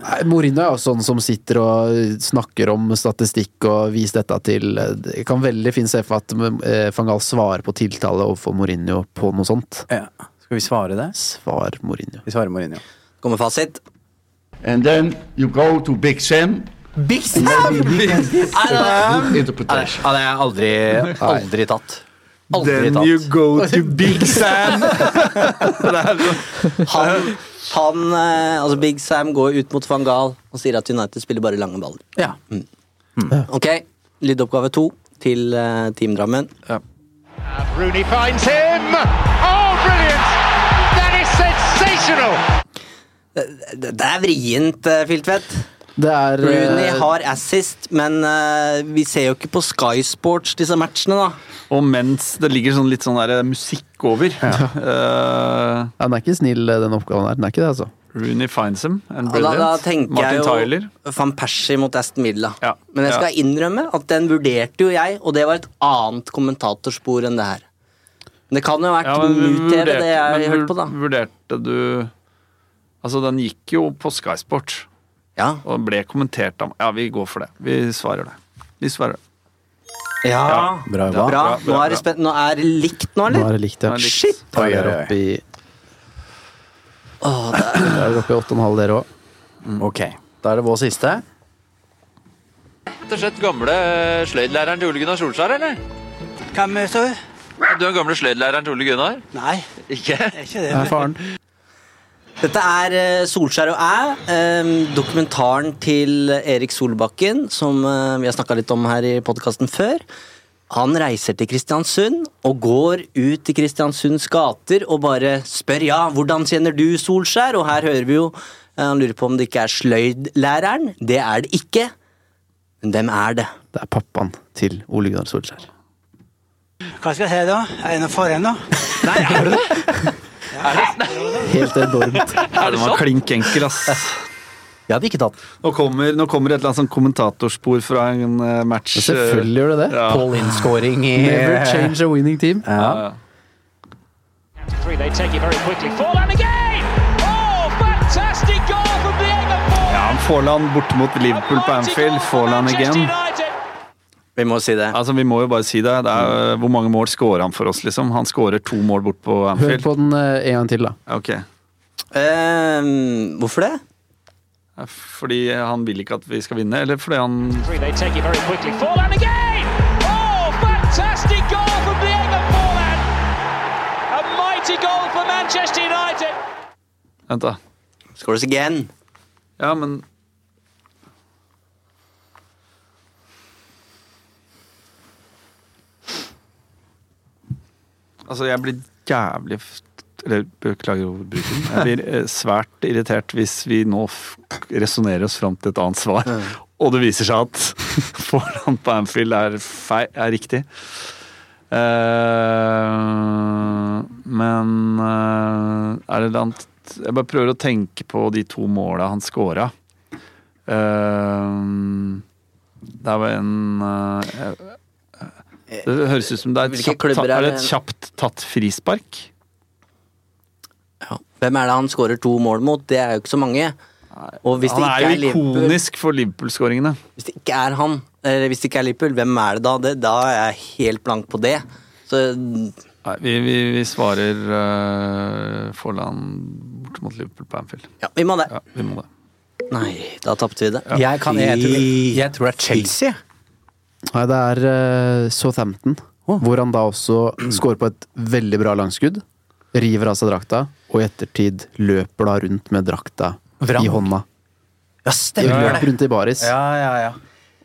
F: Nei, Mourinho er jo sånn som sitter og snakker om statistikk og viser dette til Jeg kan veldig fint se for meg at eh, van Gaal svarer på tiltale overfor Mourinho på noe sånt.
B: Ja. Skal vi svare det?
F: Svar Mourinho.
B: Vi svarer Mourinho.
C: Kommer fasit.
K: And then you go to Big Sam.
B: Big Sam!
K: A good interpretation.
B: Ja, det har jeg aldri, aldri tatt. Aldri
D: Then you
B: tatt.
D: go
C: [LAUGHS]
D: to Big Sam!
C: Han, han eh, altså Big Sam går ut mot van Gaal og sier at United spiller bare lange baller.
B: Ja.
C: Ok, lydoppgave to til eh, Team Drammen.
A: Rooney finds him. Oh, brilliant! That is sensational.
C: Det, det er vrient, eh, Filtvedt.
F: Det er eh,
C: Rooney har assist, men eh, vi ser jo ikke på Sky Sports disse matchene, da.
D: Og mens det ligger sånn litt sånn der musikk over eh,
F: ja, Den er ikke snill, eh, den oppgaven her. Den er ikke det, altså.
D: Rooney finds him and
C: Og da,
D: brilliant.
C: da tenker
D: Martin
C: jeg jo
D: Tyler.
C: van Persie mot Aston Villa.
D: Ja.
C: Men jeg skal innrømme at den vurderte jo jeg, og det var et annet kommentatorspor enn det her. Men det kan jo ha vært
D: Ja,
C: ja,
D: men
C: MUT-TV,
D: vurderte-
C: det jeg
D: men
C: hørte på, da.
D: Vurderte du Altså, den gikk jo på Sky Sport
C: Ja.
D: og ble kommentert av Ja, vi går for det. Vi svarer det. Vi svarer det.
C: Ja,
B: Bra
C: bra.
B: jobba.
C: Nå er det spen- Nå er det likt
F: Nå
C: nå, eller?
F: er det likt, ja.
D: Nå er det likt.
F: Shit! Da er
B: Oi,
F: dere
B: oi, oi.
F: oppe i Da er dere oppe i åtte og en halv, dere òg.
B: Ok, da er det vår siste.
J: Rett og slett gamle sløydlæreren til Ole Gunnar Solskjær, eller? Hvem sa du? Du er gamle sløydlæreren til Ole Gunnar? Nei. Ikke?
F: Det er faren.
C: Dette er eh, Solskjær og æ, eh, dokumentaren til Erik Solbakken, som eh, vi har snakka litt om her i podkasten før. Han reiser til Kristiansund og går ut i Kristiansunds gater og bare spør ja, hvordan kjenner du Solskjær? Og her hører vi jo eh, han lurer på om det ikke er sløydlæreren. Det er det ikke. Men hvem er det?
F: Det er pappaen til Ole Gunnar Solskjær.
J: Hva skal jeg si da? Er det noe for en, da?
F: Helt enormt.
D: Ja, den var klink enkel, ass.
B: Jeg hadde ikke tatt.
D: Nå kommer, nå kommer et eller annet sånn kommentatorspor fra en eh, match.
F: [LAUGHS] Selvfølgelig gjør det det.
D: Ja.
B: Paul Inn-scoring i
F: Never change a winning team.
B: Ja.
A: Three, they take it very quickly. Forlan again! Oh, fantastic goal from Diego Forlan!
D: Ja, Forland borte mot Liverpool på Anfield. Forland igjen.
C: Vi må si det.
D: Altså, vi må jo bare si det. det er, eh, hvor mange mål scorer han for oss, liksom? Han scorer to mål bort på
F: Hør
D: Anfield.
F: på den eh, en gang til, da.
D: Ok.
C: Eh, hvorfor det?
D: Fordi eh, han vil ikke at vi skal vinne, eller fordi han
A: Three, they take it very quickly. Forlan again! Oh, fantastic goal from Diego Forlan! A mighty goal for Manchester United!
D: Vent, da.
C: Scores again.
D: Ja, men Altså, jeg blir jævlig f- Eller beklager ordbruken. Jeg blir eh, svært irritert hvis vi nå resonnerer oss fram til et annet svar, og det viser seg at [LAUGHS] foran på Anfield er, fei- er riktig. Eh, men eh, er det et annet litt Jeg bare prøver å tenke på de to måla han Eh, scora. det er vel en eh, eh, Det høres ut som det er et,
C: Hvilke
D: kjapt,
C: klubber er
D: er det
C: det?
D: et kjapt tatt frispark.
C: Hvem er det han skårer to mål mot? Det er jo ikke så mange. Og hvis det
D: han
C: ikke
D: er
C: er,
D: jo
C: Liverpool,
D: ikonisk for Liverpool-skåringene.
C: hvis det ikke er han, eller hvis det ikke er Liverpool, hvem er det da? Det, da er jeg helt blank på det. Så
D: Nei, vi, vi, vi svarer uh, Forland bort mot Liverpool på Anfield.
C: Ja, vi må det.
D: vi må det.
C: Nei, da tapte vi det.
G: Jeg, kan, jeg, tror, jeg tror det er Chelsea.
F: Nei, det er eh, Southampton, hvor han da også scorer på et veldig bra langskudd. River av seg drakta, og i ettertid løper da rundt med drakta
B: Vrang.
F: i hånda.
B: Ja, stemmer
F: Ja, løper
B: det.
F: rundt i baris
B: Ja, ja, ja.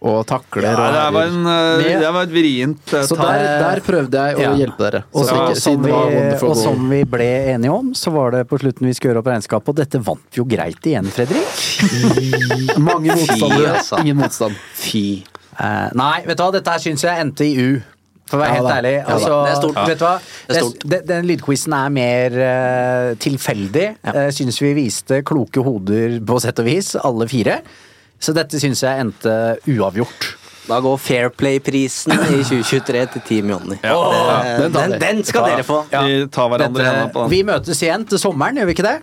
F: og takler
D: Ja,
F: og
D: det var, en, eh,
F: Med-
D: det var et vrient eh,
F: Så
D: tall.
F: der, der prøvde jeg å
D: Ja.
F: hjelpe dere.
D: Og
F: Så
D: så-
F: ikke-
D: som
F: siden det
D: vi-
F: var wonderful
B: Og
F: goal.
B: som vi ble enige om, så var det på slutten vi skulle gjøre opp regnskapet, og dette vant vi jo greit igjen, Fredrik.
F: Mange motstandere.
B: altså.
F: Ingen motstand.
C: Fy.
B: Eh, nei, vet du hva, dette her syns jeg endte i U. For å være
F: Ja
B: helt
F: da.
B: ærlig.
F: Ja da.
B: Altså,
F: Det er stort.
B: Vet du hva?
F: Det er
B: Det- Den, den lydquizen er mer eh, tilfeldig. Jeg syns vi viste kloke hoder på sett og vis, alle fire. Så dette syns jeg endte uavgjort.
C: Da går Fair Play-prisen i 2023 til Team Jonny.
B: Åh,
C: Det- den, den skal dere få.
B: Ja. Dette-
C: Dette-
B: Vi møtes igjen til sommeren, gjør vi ikke det?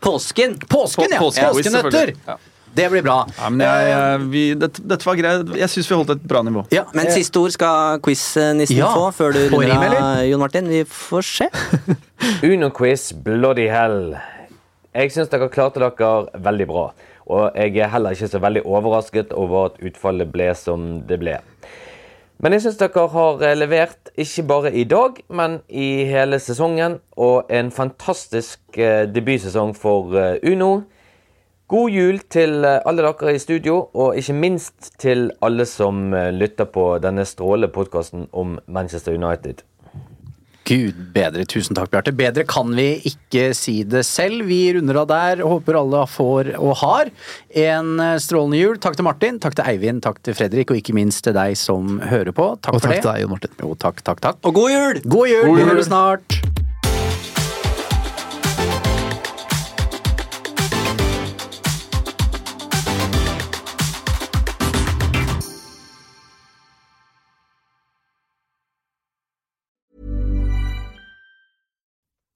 C: Påsken!
B: Påsken, ja.
D: På- påskequiz,
B: Påskenøtter!
D: selvfølgelig. Ja.
B: Det blir bra.
D: Ja, men jeg, jeg- vi, dette, dette var greit. Jeg syns vi holdt et bra nivå.
C: Men
D: Eh,
C: siste ord skal quiz-nissen
D: Ja.
C: få før du
D: På
C: runder
D: rim,
C: av, Jon Martin. Vi får se.
H: Unoquiz bloody hell. Jeg syns dere klarte dere veldig bra. Og jeg er heller ikke så veldig overrasket over at utfallet ble som det ble. Men jeg syns dere har eh, levert ikke bare i dag, men i hele sesongen. Og en fantastisk eh, debutsesong for eh, Uno. God jul til eh, alle dere i studio, og ikke minst til alle som eh, lytter på denne strålende podkasten om Manchester United.
B: Gud bedre, tusen takk Bjarte. Bedre kan vi ikke si det selv. Vi runder av der. Håper alle får og har en eh, strålende jul. Takk til Martin, takk til Eivind, takk til Fredrik, og ikke minst til deg som hører på. Takk
F: Og
B: for
F: takk
B: det.
F: til deg, Jon Martin.
B: Jo, takk, takk, takk.
C: Og god jul!
B: God jul!
F: God
B: Vi
F: jul.
B: høres snart.